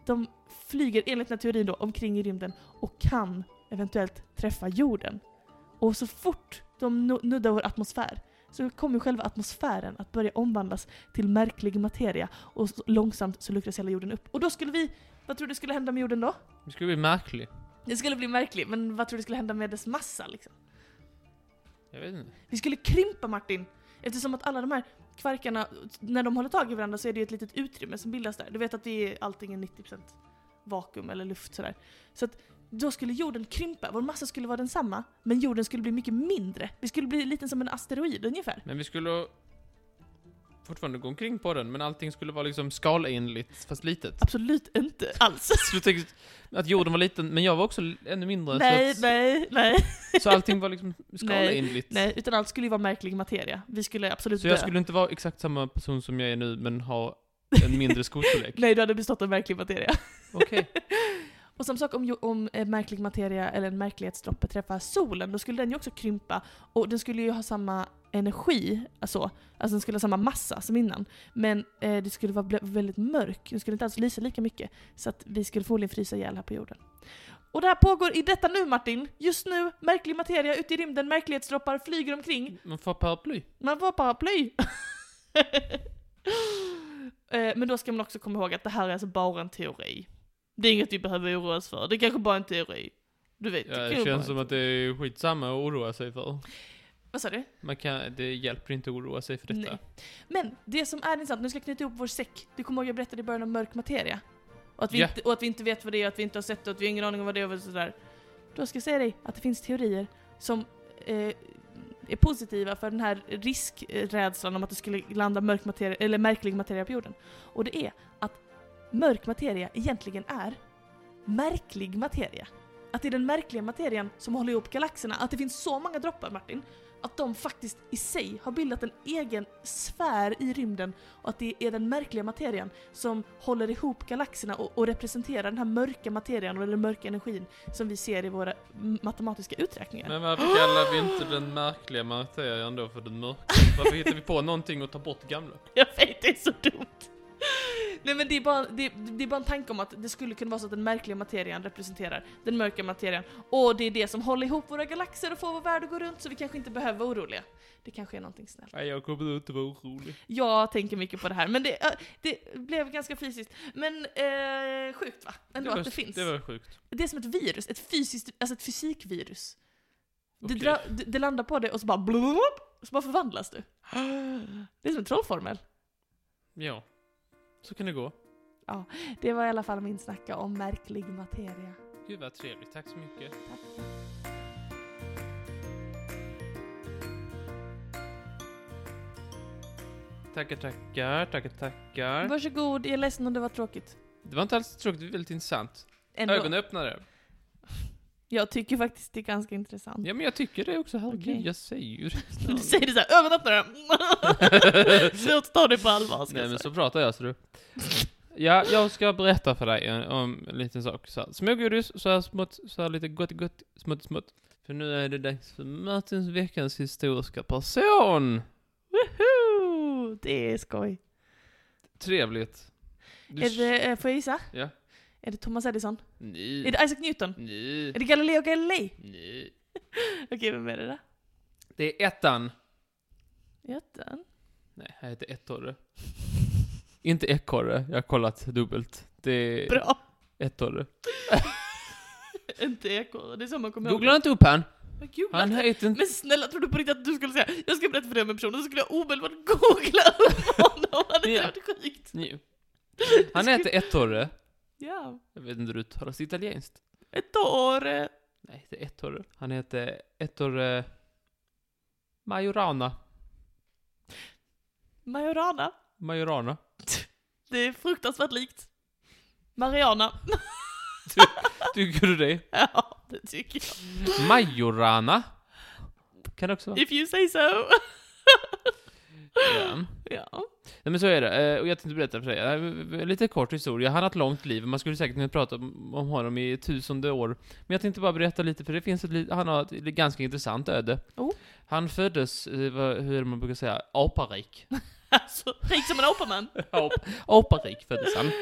Speaker 1: de flyger enligt den här teorin då omkring i rymden och kan eventuellt träffa jorden. Och så fort de nu- nuddar vår atmosfär så kommer själva atmosfären att börja omvandlas till märklig materia och så långsamt så luckras hela jorden upp. Och då skulle vi, vad tror du skulle hända med jorden då?
Speaker 2: Det skulle bli märkligt.
Speaker 1: Det skulle bli märklig, men vad tror du skulle hända med dess massa liksom?
Speaker 2: Jag vet inte.
Speaker 1: Vi skulle krympa Martin! Eftersom att alla de här kvarkarna, när de håller tag i varandra så är det ju ett litet utrymme som bildas där. Du vet att det är allting är 90% vakuum eller luft sådär. Så att då skulle jorden krympa, vår massa skulle vara densamma, men jorden skulle bli mycket mindre. Vi skulle bli liten som en asteroid ungefär.
Speaker 2: Men vi skulle fortfarande gå omkring på den, men allting skulle vara liksom skalenligt, fast litet.
Speaker 1: Absolut inte alls.
Speaker 2: Så du tänkte att jorden var liten, men jag var också l- ännu mindre.
Speaker 1: Nej,
Speaker 2: så, att,
Speaker 1: nej, nej,
Speaker 2: så allting
Speaker 1: [LAUGHS]
Speaker 2: var liksom skalenligt.
Speaker 1: nej. Utan allt skulle ju vara märklig materia. Vi skulle absolut
Speaker 2: Så jag
Speaker 1: dö.
Speaker 2: skulle inte vara exakt samma person som jag är nu, men ha en mindre skostorlek.
Speaker 1: [LAUGHS] Nej, du hade bestått av märklig materia.
Speaker 2: Okej.
Speaker 1: [LAUGHS] Och samma sak om, ju- om eh, märklig materia eller en märklighetsdroppe träffar solen, då skulle den ju också krympa och den skulle ju ha samma energi, alltså, alltså den skulle ha samma massa som innan. Men eh, det skulle vara blä- väldigt mörk, den skulle inte alls lysa lika mycket. Så att vi skulle förmodligen frysa ihjäl här på jorden. Och det här pågår i detta nu Martin. Just nu, märklig materia ute i rymden, märklighetsdroppar flyger omkring.
Speaker 2: Man får paraply.
Speaker 1: Man får paraply. [LAUGHS] Eh, Men då ska man också komma ihåg att det här är alltså bara en teori. Det är inget vi behöver oroa oss för, det är kanske bara en teori. Du vet,
Speaker 2: Ja,
Speaker 1: det
Speaker 2: det
Speaker 1: kan ju vara
Speaker 2: känns som
Speaker 1: en-
Speaker 2: att det är skitsamma att oroa sig för.
Speaker 1: Vad sa du?
Speaker 2: Man kan, det hjälper inte att oroa sig för detta.
Speaker 1: Nej. Men det som är intressant, nu ska jag knyta ihop vår säck. Du kommer ihåg jag berättade i början om mörk materia? Och att, vi
Speaker 2: Ja.
Speaker 1: inte, och att vi inte vet vad det är, och att vi inte har sett det, och att vi har ingen aning om vad det är och sådär. Då ska jag säga dig att det finns teorier som eh, är positiva för den här riskrädslan om att det skulle landa mörk materia, eller märklig materia på jorden. Och det är att mörk materia egentligen är märklig materia. Att det är den märkliga materian som håller ihop galaxerna, att det finns så många droppar Martin, att de faktiskt i sig har bildat en egen sfär i rymden och att det är den märkliga materian som håller ihop galaxerna och, och representerar den här mörka materian och den mörka energin som vi ser i våra m- matematiska uträkningar.
Speaker 2: Men varför kallar vi inte den märkliga materian då för den mörka? Varför hittar vi på någonting och tar bort det gamla?
Speaker 1: [LAUGHS] Jag vet, det är så dumt. Nej men det är, bara, det, det är bara en tanke om att det skulle kunna vara så att den märkliga materian representerar den mörka materian. Och det är det som håller ihop våra galaxer och får vår värld att gå runt så vi kanske inte behöver vara oroliga. Det kanske är någonting snällt.
Speaker 2: Nej, jag kommer inte vara orolig.
Speaker 1: Jag tänker mycket på det här men det, ja, det blev ganska fysiskt. Men eh, sjukt va? Ändå
Speaker 2: var,
Speaker 1: att det finns.
Speaker 2: Det var sjukt. [GASPS]
Speaker 1: Det är som ett virus, ett fysiskt, alltså ett fysikvirus.
Speaker 2: Okej.
Speaker 1: Det, dra, det, det landar på dig och så bara blub, så bara förvandlas du. Det är som en trollformel.
Speaker 2: Ja. Så kan det gå.
Speaker 1: Det var i alla fall min snacka om märklig materia.
Speaker 2: Gud vad trevligt, tack så mycket. Tackar, tackar, tackar, tackar.
Speaker 1: Varsågod, jag är ledsen om det var tråkigt.
Speaker 2: Det var inte alls tråkigt, det var väldigt intressant.
Speaker 1: Ändå.
Speaker 2: Ögonöppnare.
Speaker 1: Jag tycker faktiskt det är ganska intressant.
Speaker 2: Ja, men jag tycker det också. Herregud,
Speaker 1: Okej.
Speaker 2: jag säger
Speaker 1: [LAUGHS]
Speaker 2: ju
Speaker 1: Du säger det såhär,
Speaker 2: [LAUGHS]
Speaker 1: ögonöppnare! Slut ta det på allvar ska
Speaker 2: Nej,
Speaker 1: jag
Speaker 2: men
Speaker 1: säga.
Speaker 2: så pratar jag, så du. Ja, jag ska berätta för dig eh, om en liten sak. Så här, smågodis, så här smått, så här lite gott, gott, smått, smått. För nu är det dags för Martins veckans historiska person.
Speaker 1: Woho! Det är skoj.
Speaker 2: Trevligt. Du
Speaker 1: Är det, eh, får jag gissa?
Speaker 2: Ja.
Speaker 1: Är det Thomas Edison?
Speaker 2: Nej.
Speaker 1: Är det Isaac Newton?
Speaker 2: Nej.
Speaker 1: Är det Galileo Galilei?
Speaker 2: Nej.
Speaker 1: Okej, vem är det då?
Speaker 2: Det är ettan.
Speaker 1: Götten?
Speaker 2: Nej, jag
Speaker 1: [LAUGHS]
Speaker 2: heter ettorre. Inte ekorre, jag har kollat dubbelt. Det är
Speaker 1: Bra! [LAUGHS]
Speaker 2: ettorre.
Speaker 1: Inte ekorre, det är så man kommer
Speaker 2: Googla
Speaker 1: ihåg
Speaker 2: inte upp han.
Speaker 1: det. Vad kul
Speaker 2: Han
Speaker 1: att- [LAUGHS]
Speaker 2: heter inte...
Speaker 1: Men snälla, tror du på riktigt att du skulle säga jag ska berätta för dig om en person och så skulle jag omedelbart [LAUGHS] googla upp honom? Hade
Speaker 2: Ja.
Speaker 1: inte varit sjukt?
Speaker 2: Nej. Han heter ettorre.
Speaker 1: Ja.
Speaker 2: Jag vet inte hur du talas italienskt.
Speaker 1: Ett år. eh,
Speaker 2: Nej, det är ettorre. Han heter ettorre... Majorana.
Speaker 1: Majorana.
Speaker 2: Majorana.
Speaker 1: Det är fruktansvärt likt. Mariana. [LAUGHS]
Speaker 2: Tycker du det?
Speaker 1: Ja, det tycker jag.
Speaker 2: Majorana. Kan det också vara.
Speaker 1: If you say so.
Speaker 2: Ja.
Speaker 1: [LAUGHS] Ja.
Speaker 2: Nej men så är det, Eh, och jag tänkte berätta för dig. Eh, Lite kort historia, han har ett långt liv, man skulle säkert kunna prata om om honom i tusende år. Men jag tänkte bara berätta lite, för det finns ett, li- han har ett li- ganska intressant öde.
Speaker 1: Oh.
Speaker 2: Han föddes, eh, vad- hur man brukar säga,
Speaker 1: [LAUGHS]
Speaker 2: aparik.
Speaker 1: Alltså, rik som en apaman.
Speaker 2: Ap- aparik föddes han.
Speaker 1: Åh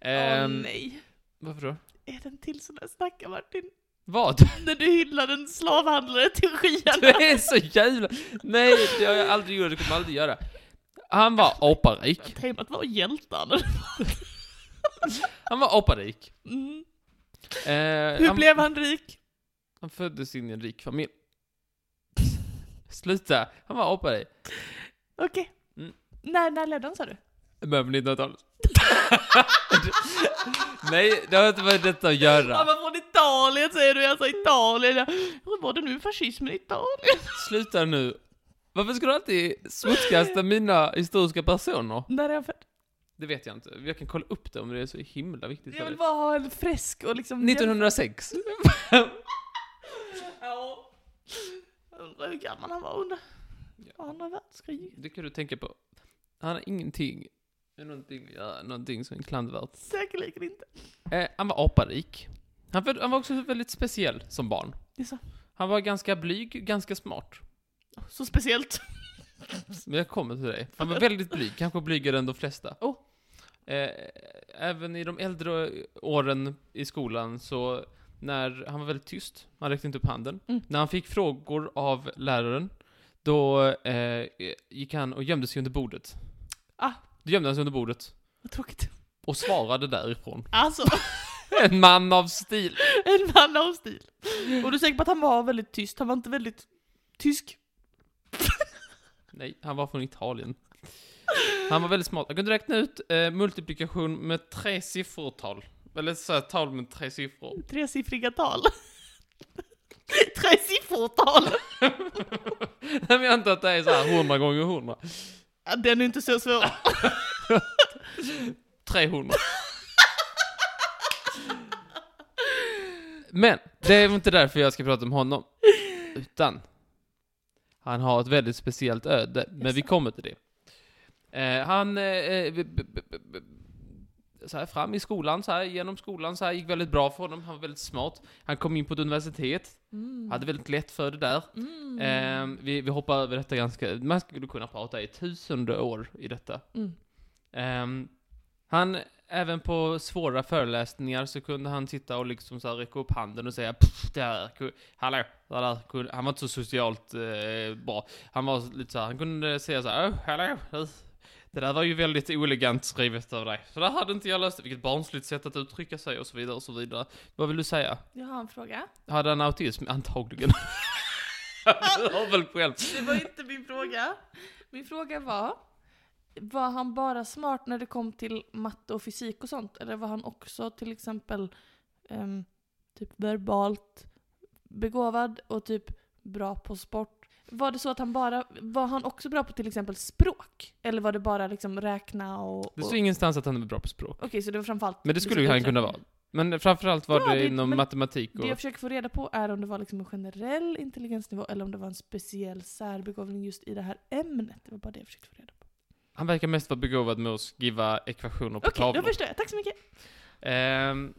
Speaker 2: [LAUGHS] Ehm,
Speaker 1: nej.
Speaker 2: varför då?
Speaker 1: Är den till sån här snackar Martin?
Speaker 2: Vad? [LAUGHS]
Speaker 1: När du hyllar en slavhandlare till
Speaker 2: Du
Speaker 1: skyarna.
Speaker 2: är så jävla... Nej, det har jag aldrig gjort, det kommer jag aldrig göra. Han var aparik.
Speaker 1: Temat var hjältar.
Speaker 2: Han var aparik.
Speaker 1: Mm.
Speaker 2: Eh,
Speaker 1: Hur
Speaker 2: han-
Speaker 1: blev han rik?
Speaker 2: Han föddes in i en rik familj. Sluta! Han var apa dig.
Speaker 1: Okej.
Speaker 2: Mm.
Speaker 1: När, när levde han sa du?
Speaker 2: Början på 1900-talet. [LAUGHS] Nej, det har inte med detta att
Speaker 1: Han
Speaker 2: göra.
Speaker 1: var från Italien säger du, alltså Italien. Ja. Hur var det nu fascismen i Italien?
Speaker 2: Sluta nu. Varför ska du alltid smutskasta mina historiska personer?
Speaker 1: När är han född?
Speaker 2: Det vet jag inte. Jag kan kolla upp det om det är så himla viktigt
Speaker 1: Jag
Speaker 2: för
Speaker 1: vill
Speaker 2: dig.
Speaker 1: bara ha en fresk och liksom...
Speaker 2: 1906.
Speaker 1: Ja. Jag Undrar hur gammal han var under andra världskriget.
Speaker 2: Det kan du tänka på. Han har ingenting, med någonting, att göra, någonting som är klandervärt.
Speaker 1: Säkerligen inte.
Speaker 2: Eh, han var aparik. Han, föd- han var också väldigt speciell som barn.
Speaker 1: Jaså?
Speaker 2: Han var ganska blyg, ganska smart.
Speaker 1: Så speciellt.
Speaker 2: Men jag kommer till dig.
Speaker 1: [LAUGHS]
Speaker 2: Han var väldigt blyg, kanske blygare än de flesta.
Speaker 1: Oh.
Speaker 2: Eh, även i de äldre åren i skolan så när han var väldigt tyst, han räckte inte upp handen.
Speaker 1: Mm.
Speaker 2: När han fick frågor av läraren, då eh, gick han och gömde sig under bordet.
Speaker 1: Ah.
Speaker 2: Då gömde han sig under bordet
Speaker 1: Vad tråkigt.
Speaker 2: och svarade därifrån.
Speaker 1: Alltså,
Speaker 2: En man av stil.
Speaker 1: [LAUGHS] en man av stil. Och du är säker på att han var väldigt tyst? Han var inte väldigt tysk?
Speaker 2: Nej, han var från Italien. Han var väldigt smart. Jag kunde räkna ut eh, multiplikation med tre siffrortal. Eller så här, tal med tre siffror. [LAUGHS]
Speaker 1: Tresiffriga tal. [LAUGHS] Tresiffrotal!
Speaker 2: Nej, men jag antar att det är så här 100 gånger 100.
Speaker 1: Ja, Den är inte så svår.
Speaker 2: 300. Men, det är väl inte därför jag ska prata om honom. Utan, han har ett väldigt speciellt öde. Men vi kommer till det. Eh, han, eh, b- b- b- b- så här fram i skolan, så här genom skolan, så här gick väldigt bra för honom. Han var väldigt smart. Han kom in på ett universitet. Hade väldigt lätt för det där.
Speaker 1: Mm.
Speaker 2: Eh, vi, vi hoppar över detta ganska, man skulle kunna prata i tusende år i detta.
Speaker 1: Mm.
Speaker 2: Ehm, han, även på svåra föreläsningar så kunde han sitta och liksom så här räcka upp handen och säga "Pff, det här, ku- hallå, det där, ku-" han var inte så socialt eh, bra. Han var lite så här, han kunde säga så här, "Åh, hallå, hej." det där var ju väldigt oelegant skrivet av dig. Så där hade inte jag löst det, vilket barnsligt sätt att uttrycka sig och så vidare och så vidare. Vad vill du säga?
Speaker 1: Jag har en fråga.
Speaker 2: Hade han autism? Antagligen. [LAUGHS] du har väl själv.
Speaker 1: Det var inte min fråga. Min fråga var, var han bara smart när det kom till matte och fysik och sånt? Eller var han också till exempel ehm, typ verbalt begåvad och typ bra på sport? Var det så att han bara, var han också bra på till exempel språk? Eller var det bara liksom räkna och... och
Speaker 2: Det står ingenstans att han är bra på språk.
Speaker 1: Okej, så det var framförallt...
Speaker 2: Men det skulle ju han kunna vara. Men framförallt var
Speaker 1: Ja,
Speaker 2: det,
Speaker 1: det-
Speaker 2: inom
Speaker 1: men
Speaker 2: matematik och...
Speaker 1: Det jag försöker få reda på är om det var liksom en generell intelligensnivå eller om det var en speciell särbegåvning just i det här ämnet. Det var bara det jag försökte få reda på.
Speaker 2: Han verkar mest vara begåvad med att skriva ekvationer på
Speaker 1: Okej, då
Speaker 2: tavlor.
Speaker 1: förstår jag. Tack så mycket.
Speaker 2: Ehm,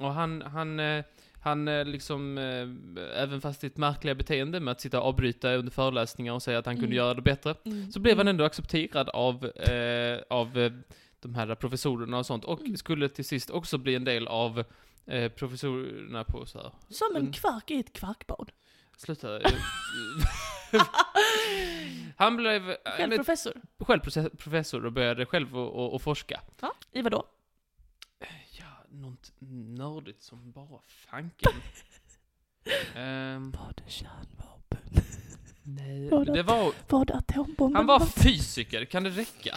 Speaker 2: och han, han, eh, han eh, liksom, eh, även fast sitt märkliga beteende med att sitta och avbryta under föreläsningar och säga att han kunde
Speaker 1: Mm.
Speaker 2: göra det bättre, så blev han ändå accepterad av, eh, av eh, de här professorerna och sånt. Och
Speaker 1: Mm.
Speaker 2: skulle till sist också bli en del av eh, professorerna på så här.
Speaker 1: Som en
Speaker 2: Mm.
Speaker 1: kvark i ett kvarkbad.
Speaker 2: [LAUGHS] Sluta. eh, han blev eh,
Speaker 1: Själv
Speaker 2: men-
Speaker 1: professor.
Speaker 2: själv proce- professor och började själv och, och, och forska.
Speaker 1: Ja. I vadå?
Speaker 2: Eh, Ja, något nördigt som bara fanken. [LAUGHS] Ehm,
Speaker 1: Var det kärnvapen?
Speaker 2: nej,
Speaker 1: Var det-
Speaker 2: det var...
Speaker 1: Var det atombomben?
Speaker 2: Han var fysiker, kan det räcka?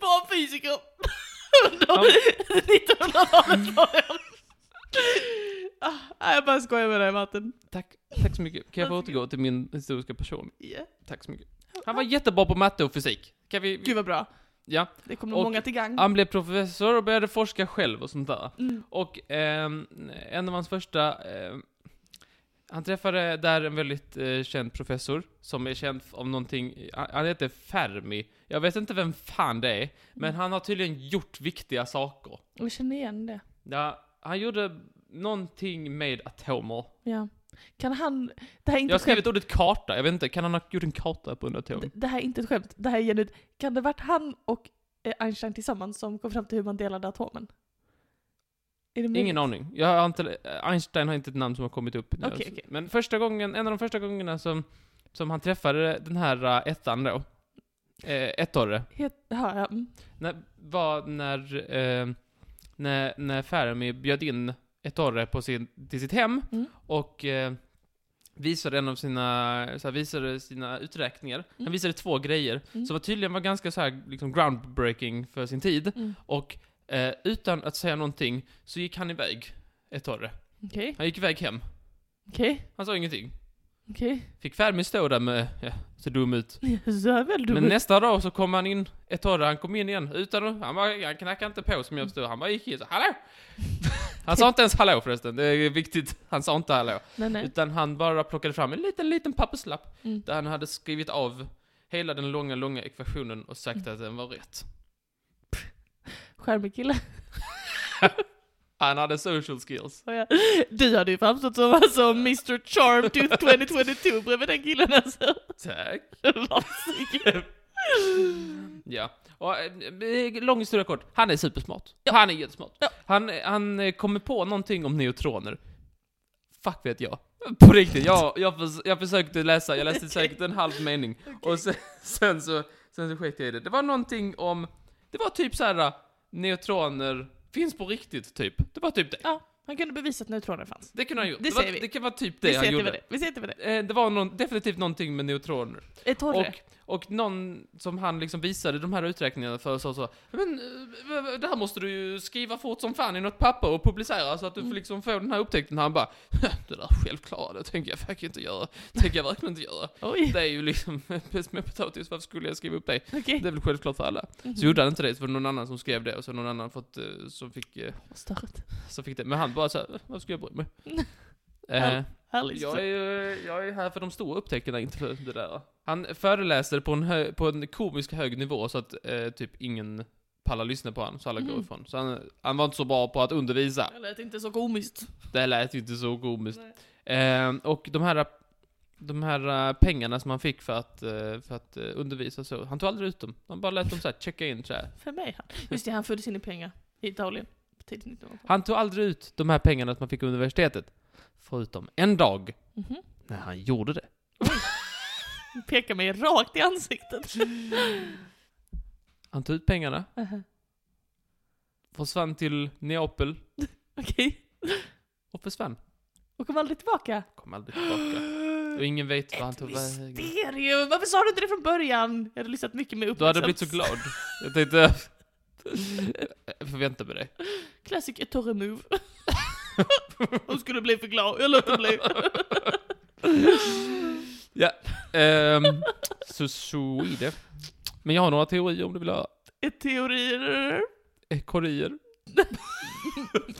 Speaker 1: var han fysiker!
Speaker 2: Han-
Speaker 1: [LAUGHS] 1900-talet var han. Ah, nej, jag bara skojar med dig matten.
Speaker 2: Tack, tack så mycket. Kan jag få återgå till min historiska person?
Speaker 1: Yeah.
Speaker 2: Tack så mycket. Han var jättebra på matte och fysik. Kan vi...
Speaker 1: Gud vad bra.
Speaker 2: Ja.
Speaker 1: Det kommer
Speaker 2: Och-
Speaker 1: nog många till gagn.
Speaker 2: Han blev professor och började forska själv och sånt där.
Speaker 1: Mm.
Speaker 2: Och ehm, en av hans första... ehm, han träffade där en väldigt eh, känd professor som är känd f- av någonting... Han, han heter Fermi. Jag vet inte vem fan det är, men han har tydligen gjort viktiga saker.
Speaker 1: Mm. Jag känner igen det.
Speaker 2: Ja, han gjorde någonting med atomer.
Speaker 1: Ja. Kan han... Det här är inte
Speaker 2: Jag har
Speaker 1: ett skämt.
Speaker 2: skrivit ordet karta, jag vet inte, kan han ha gjort en karta på en
Speaker 1: D-
Speaker 2: atom?
Speaker 1: Det här är inte ett skämt. Det här är genuint. Kan det varit han och eh, Einstein tillsammans som kom fram till hur man delade atomen? Är det möjligt?
Speaker 2: Ingen aning. Jag har inte, Einstein har inte ett namn som har kommit upp. nu.
Speaker 1: Okej, okej.
Speaker 2: Men första gången, en av de första gångerna som, som han träffade den här eh, ettan då, eh, ettorre,
Speaker 1: Het, ja, ja. mm.
Speaker 2: när, var när, eh, när, när Fermi bjöd in ettorre på sin, till sitt hem
Speaker 1: Mm.
Speaker 2: och eh, visade en av sina, så här, visade sina uträkningar. Han
Speaker 1: Mm.
Speaker 2: visade två grejer
Speaker 1: Mm.
Speaker 2: som var tydligen var ganska så här, liksom groundbreaking för sin tid.
Speaker 1: Mm.
Speaker 2: Och eh, utan att säga någonting så gick han iväg, ettorre.
Speaker 1: Okej,
Speaker 2: Han gick iväg hem.
Speaker 1: okej,
Speaker 2: Han sa ingenting.
Speaker 1: okej. [LAUGHS]
Speaker 2: Fick Fermi stå där med, ja, så dum ut.
Speaker 1: Så här väl du.
Speaker 2: Men nästa dag så kom han in, ett tag han kom in igen, utan att- han, bara, han knackade inte på som jag förstod, han bara gick in så hallå! [LAUGHS] Han sa inte ens hallå förresten, det är viktigt, han sa inte hallå.
Speaker 1: nej, nej.
Speaker 2: Utan han bara plockade fram en liten, liten papperslapp
Speaker 1: Mm.
Speaker 2: där han hade skrivit av hela den långa, långa ekvationen och sagt att den var rätt.
Speaker 1: Charmig kille. [LAUGHS]
Speaker 2: Han hade social skills.
Speaker 1: sa jag. Du hade ju framstått som alltså, Mr Charm
Speaker 2: [LAUGHS]
Speaker 1: till 2022 bredvid den killen alltså. [LAUGHS]
Speaker 2: Tack.
Speaker 1: Lasig.
Speaker 2: [LAUGHS] Ja. Och, eh, lång historia kort, han är supersmart. Han är jättesmart.
Speaker 1: Ja.
Speaker 2: Han, han eh, kommer på någonting om neutroner. fuck vet jag? På riktigt, jag, jag, förs- jag försökte läsa,
Speaker 1: [LAUGHS]
Speaker 2: jag läste säkert en halv mening. Och sen, [LAUGHS] sen så, sen så sket jag i det. Det var någonting om, det var typ så här neutroner finns på riktigt typ. Det var typ det.
Speaker 1: Ja, han kunde bevisa att neutroner fanns.
Speaker 2: Det kunde han gjort.
Speaker 1: Det
Speaker 2: var,
Speaker 1: säger vi.
Speaker 2: det kan vara typ
Speaker 1: vi
Speaker 2: det
Speaker 1: ser
Speaker 2: han
Speaker 1: att det var
Speaker 2: gjorde.
Speaker 1: det. Vi ser att det var det.
Speaker 2: Eh, Det var någon, definitivt någonting med neutroner.
Speaker 1: Eh, Är torre?
Speaker 2: Och, och någon som han liksom visade de här uträkningarna för sa så, men eh, det här måste du ju skriva fort som fan i något papper och publicera så att du får liksom får den här upptäckten. Han bara, det där självklara, det tänker jag faktiskt inte göra. Det tänker jag verkligen inte göra.
Speaker 1: Oj,
Speaker 2: Det är ju liksom [LAUGHS] bäst med potatis, varför skulle jag skriva upp det?
Speaker 1: okej.
Speaker 2: Det är väl självklart för alla. Så gjorde han inte det, så var det någon annan som skrev det och så någon annan fått, eh, som, fick, eh,
Speaker 1: Vad stört.
Speaker 2: som fick det. Men han bara såhär, varför ska jag bry mig?
Speaker 1: Ja.
Speaker 2: Eh,
Speaker 1: Härligt.
Speaker 2: jag är, ju- jag är här för de stora upptäckterna, inte för det där. Han föreläste på en, hö, på en komisk hög nivå så att eh, typ ingen pallar lyssna på honom, så alla går
Speaker 1: Mm.
Speaker 2: ifrån. Så han, han var inte så bra på att undervisa.
Speaker 1: Det lät inte så komiskt.
Speaker 2: Det lät ju inte så komiskt. Eh, och de här, de här eh, pengarna som han fick för att, eh, för att eh, undervisa så, han tog aldrig ut dem. Han bara lät dem så här checka in så här.
Speaker 1: För mig han. Just det, han föddes in i pengar. I Italien. På tidigt 1900-tal.
Speaker 2: Han tog aldrig ut de här pengarna som han fick på universitetet. Förutom en dag,
Speaker 1: Mhm.
Speaker 2: när han gjorde det.
Speaker 1: Pekar mig rakt i ansiktet.
Speaker 2: Han tog ut pengarna,
Speaker 1: Aha.
Speaker 2: försvann till Neapel,
Speaker 1: Okej.
Speaker 2: och försvann.
Speaker 1: Och kom aldrig tillbaka.
Speaker 2: Kom
Speaker 1: [GASPS]
Speaker 2: aldrig tillbaka. Och ingen vet vad han
Speaker 1: Ett
Speaker 2: tog vägen.
Speaker 1: mysterium! Varför sa du inte det från början? Jag hade lyssnat mycket med
Speaker 2: Du
Speaker 1: uppmärksamhet.
Speaker 2: hade blivit så glad. Jag tänkte... Jag förväntar mig det.
Speaker 1: Classic Ettore
Speaker 2: [LAUGHS]
Speaker 1: move. Hon skulle bli för glad, jag låter bli.
Speaker 2: Ja. ehm, så så är det. Men jag har några teorier om du vill ha.
Speaker 1: Ett teorier.
Speaker 2: Eh, Korier.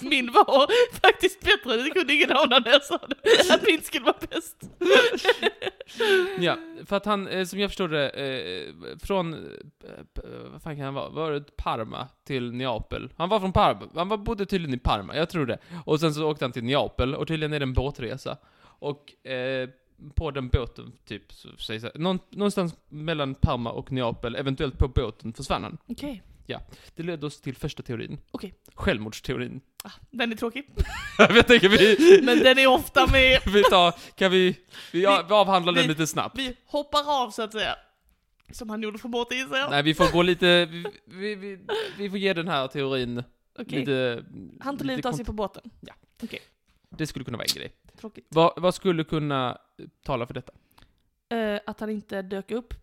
Speaker 1: Min var faktiskt bättre, det kunde ingen ana när jag sa det. Att min skulle vara bäst.
Speaker 2: Ja, för att han, eh, som jag förstod det, eh, från... eh, p- eh, Vad fan kan han vara? Var det Parma till Neapel? Han var från Parma. Han var, bodde tydligen i Parma, jag tror det. Och sen så åkte han till Neapel, och tydligen är det en båtresa. Och eh, på den båten, typ, så sägs det, någon, någonstans mellan Parma och Neapel, eventuellt på båten, försvann han.
Speaker 1: Okej.
Speaker 2: Det ledde oss till första teorin.
Speaker 1: Okej.
Speaker 2: Självmordsteorin. [LAUGHS]
Speaker 1: Ah, Den är tråkig,
Speaker 2: jag tänker vi...
Speaker 1: men den är ofta med.
Speaker 2: vi tar, kan vi... Vi, ja, vi avhandlar den
Speaker 1: vi-
Speaker 2: lite snabbt.
Speaker 1: Vi hoppar av så att säga. Som han gjorde från båten gissar jag.
Speaker 2: Nej, vi får gå lite... Vi, vi, vi, vi får ge den här teorin
Speaker 1: Okej.
Speaker 2: lite...
Speaker 1: Han tog
Speaker 2: lite
Speaker 1: livet av
Speaker 2: kont-
Speaker 1: sig på båten.
Speaker 2: Det skulle kunna vara en grej.
Speaker 1: Tråkigt.
Speaker 2: Vad, vad skulle kunna tala för detta?
Speaker 1: Eh, att han inte dök upp.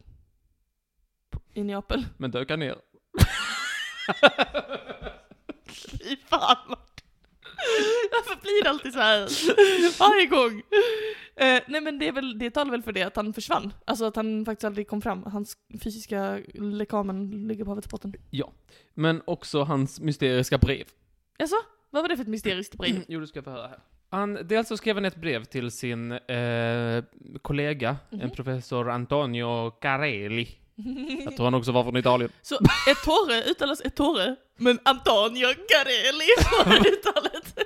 Speaker 1: på- I Neapel.
Speaker 2: Men dök han ner?
Speaker 1: [LAUGHS] Fy fan Martin. Varför blir det alltid så här? Varje gång. Eh, nej men det, är väl, det talar väl för det att han försvann. Alltså att han faktiskt aldrig kom fram. Hans fysiska lekamen ligger på havets botten.
Speaker 2: Men också hans mysteriska brev.
Speaker 1: Alltså, vad var det för ett mysteriskt [CLEARS THROAT] brev?
Speaker 2: Jo, du ska få höra här. Han, dels så skrev han ett brev till sin eh, kollega, en
Speaker 1: Mhm.
Speaker 2: professor Antonio Carelli.
Speaker 1: [LAUGHS]
Speaker 2: Jag tror han också var från Italien.
Speaker 1: Så Ettore uttalas Ettore, men Antonio Carelli var uttalet.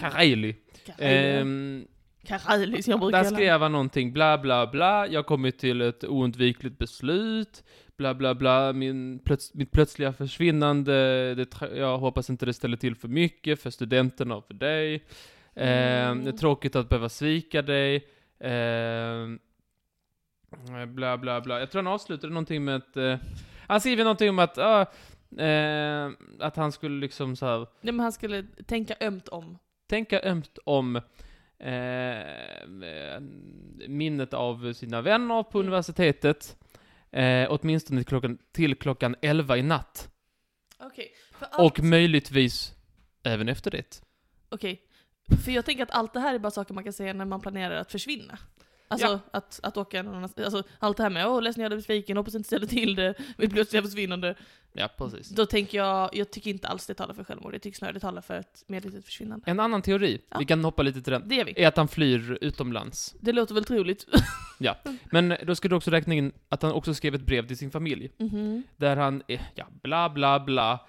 Speaker 2: Carelli. Ehm,
Speaker 1: Carelli som jag brukar
Speaker 2: Där
Speaker 1: kalla honom.
Speaker 2: skrev han någonting, bla bla bla, jag har kommit till ett oundvikligt beslut, bla bla bla, min plöts mitt plötsliga försvinnande, det tra- jag hoppas inte det ställer till för mycket för studenterna och för dig. Eh,
Speaker 1: Mm.
Speaker 2: Det är tråkigt att behöva svika dig. Eh, bla bla bla. Jag tror han avslutade någonting med att... Eh, han skriver någonting om att... ah, eh, att han skulle liksom så här
Speaker 1: Nej men han skulle tänka ömt om.
Speaker 2: tänka ömt om eh, eh, minnet av sina vänner på
Speaker 1: Mm.
Speaker 2: universitetet. Eh, åtminstone till klockan, till klockan 11 i natt.
Speaker 1: Okej.
Speaker 2: Och möjligtvis även efter det.
Speaker 1: Okej. För jag tänker att allt det här är bara saker man kan säga när man planerar att försvinna. Alltså
Speaker 2: Ja.
Speaker 1: att, att åka någon annanstans. Alltså allt det här med åh ledsen jag är besviken, hoppas jag inte ställer till det, [LAUGHS] mitt plötsliga försvinnande.
Speaker 2: Ja, precis.
Speaker 1: Då tänker jag, jag tycker inte alls det talar för självmord, jag tycker snarare det talar för ett medvetet försvinnande.
Speaker 2: En annan teori,
Speaker 1: Ja.
Speaker 2: vi kan hoppa lite till den,
Speaker 1: Det gör vi.
Speaker 2: är att han flyr utomlands.
Speaker 1: Det låter väl troligt. [LAUGHS]
Speaker 2: Men då ska du också räkna in att han också skrev ett brev till sin familj.
Speaker 1: Mhm.
Speaker 2: Där han, eh, ja, bla bla bla.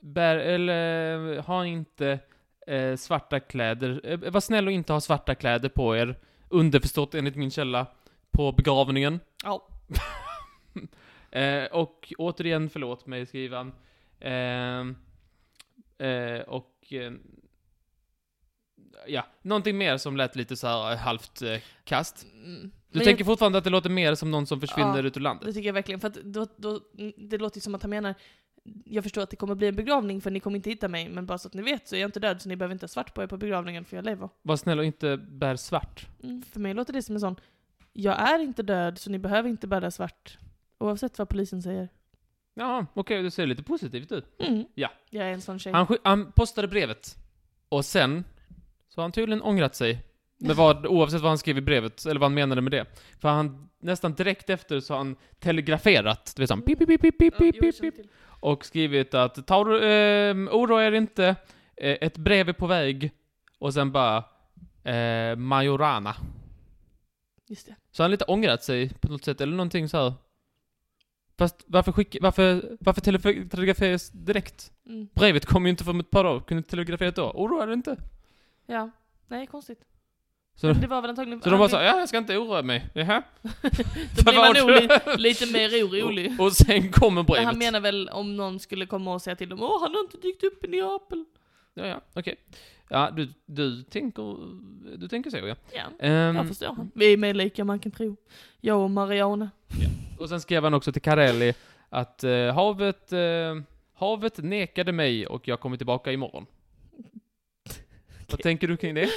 Speaker 2: Bär, eller, eh, ha inte eh, svarta kläder. Eh, var snäll och inte ha svarta kläder på er. Underförstått enligt min källa. På begravningen.
Speaker 1: Ja.
Speaker 2: [LAUGHS] Eh, och återigen, förlåt mig, skriver han. Ehm, Eh, eh, och... Eh, ja, någonting mer som lät lite så här eh, halvt eh, kast.
Speaker 1: Mm.
Speaker 2: Du
Speaker 1: Men
Speaker 2: tänker
Speaker 1: jag,
Speaker 2: fortfarande att det låter mer som någon som försvinner
Speaker 1: Ja,
Speaker 2: ut ur landet?
Speaker 1: det tycker jag verkligen, för att då, då, mm, det låter ju som att han menar jag förstår att det kommer bli en begravning för ni kommer inte hitta mig, men bara så att ni vet så är jag inte död så ni behöver inte ha svart på er på begravningen för jag lever.
Speaker 2: Var snäll och inte bär svart.
Speaker 1: Mm, för mig låter det som en sån, jag är inte död så ni behöver inte bära svart. Oavsett vad polisen säger.
Speaker 2: Ja, okej, du ser lite positivt ut.
Speaker 1: Mm.
Speaker 2: Ja.
Speaker 1: Jag är en sån tjej.
Speaker 2: Han, sk- han postade brevet. Och sen så har han tydligen ångrat sig.
Speaker 1: [LAUGHS]
Speaker 2: Med vad, oavsett vad han skrev i brevet, eller vad han menade med det. För han, nästan direkt efter så har han telegraferat, du vet sån pip, pip, pip, pip, pip,
Speaker 1: Ja,
Speaker 2: pip,
Speaker 1: jo, jag
Speaker 2: pip,
Speaker 1: känner
Speaker 2: pip.
Speaker 1: till.
Speaker 2: Och skrivit att ta, eh, oroa er inte, eh, ett brev är på väg. Och sen bara, eh, Majorana.
Speaker 1: Just det.
Speaker 2: Så han har lite ångrat sig på något sätt, eller någonting så här. Fast varför skicka, varför, varför telef- telegraferas direkt?
Speaker 1: Mm.
Speaker 2: Brevet kom ju inte från ett par dagar, kunde inte telegrafera ett år. Oroa dig inte.
Speaker 1: Ja. Nej, konstigt.
Speaker 2: Så,
Speaker 1: Men det var väl antagligen...
Speaker 2: så
Speaker 1: [LAUGHS]
Speaker 2: de bara sa, ja jag ska inte oroa mig. Jaha. [LAUGHS]
Speaker 1: Då blir man
Speaker 2: Vad
Speaker 1: nog
Speaker 2: var
Speaker 1: li,
Speaker 2: det?
Speaker 1: lite mer orolig.
Speaker 2: [LAUGHS] Och, och sen kommer
Speaker 1: Men
Speaker 2: brevet.
Speaker 1: han menar väl om någon skulle komma och säga till dem Åh, han har inte dykt upp i Neapel.
Speaker 2: Ja, ja, okej. Ja, du, du tänker, du tänker så ja.
Speaker 1: Ja,
Speaker 2: Ehm,
Speaker 1: jag förstår han. Vi är mer lika man kan tro. Jag och Mariana.
Speaker 2: och sen skrev han också till Carelli att eh, havet, eh, havet nekade mig och jag kommer tillbaka imorgon. Vad tänker du kring det?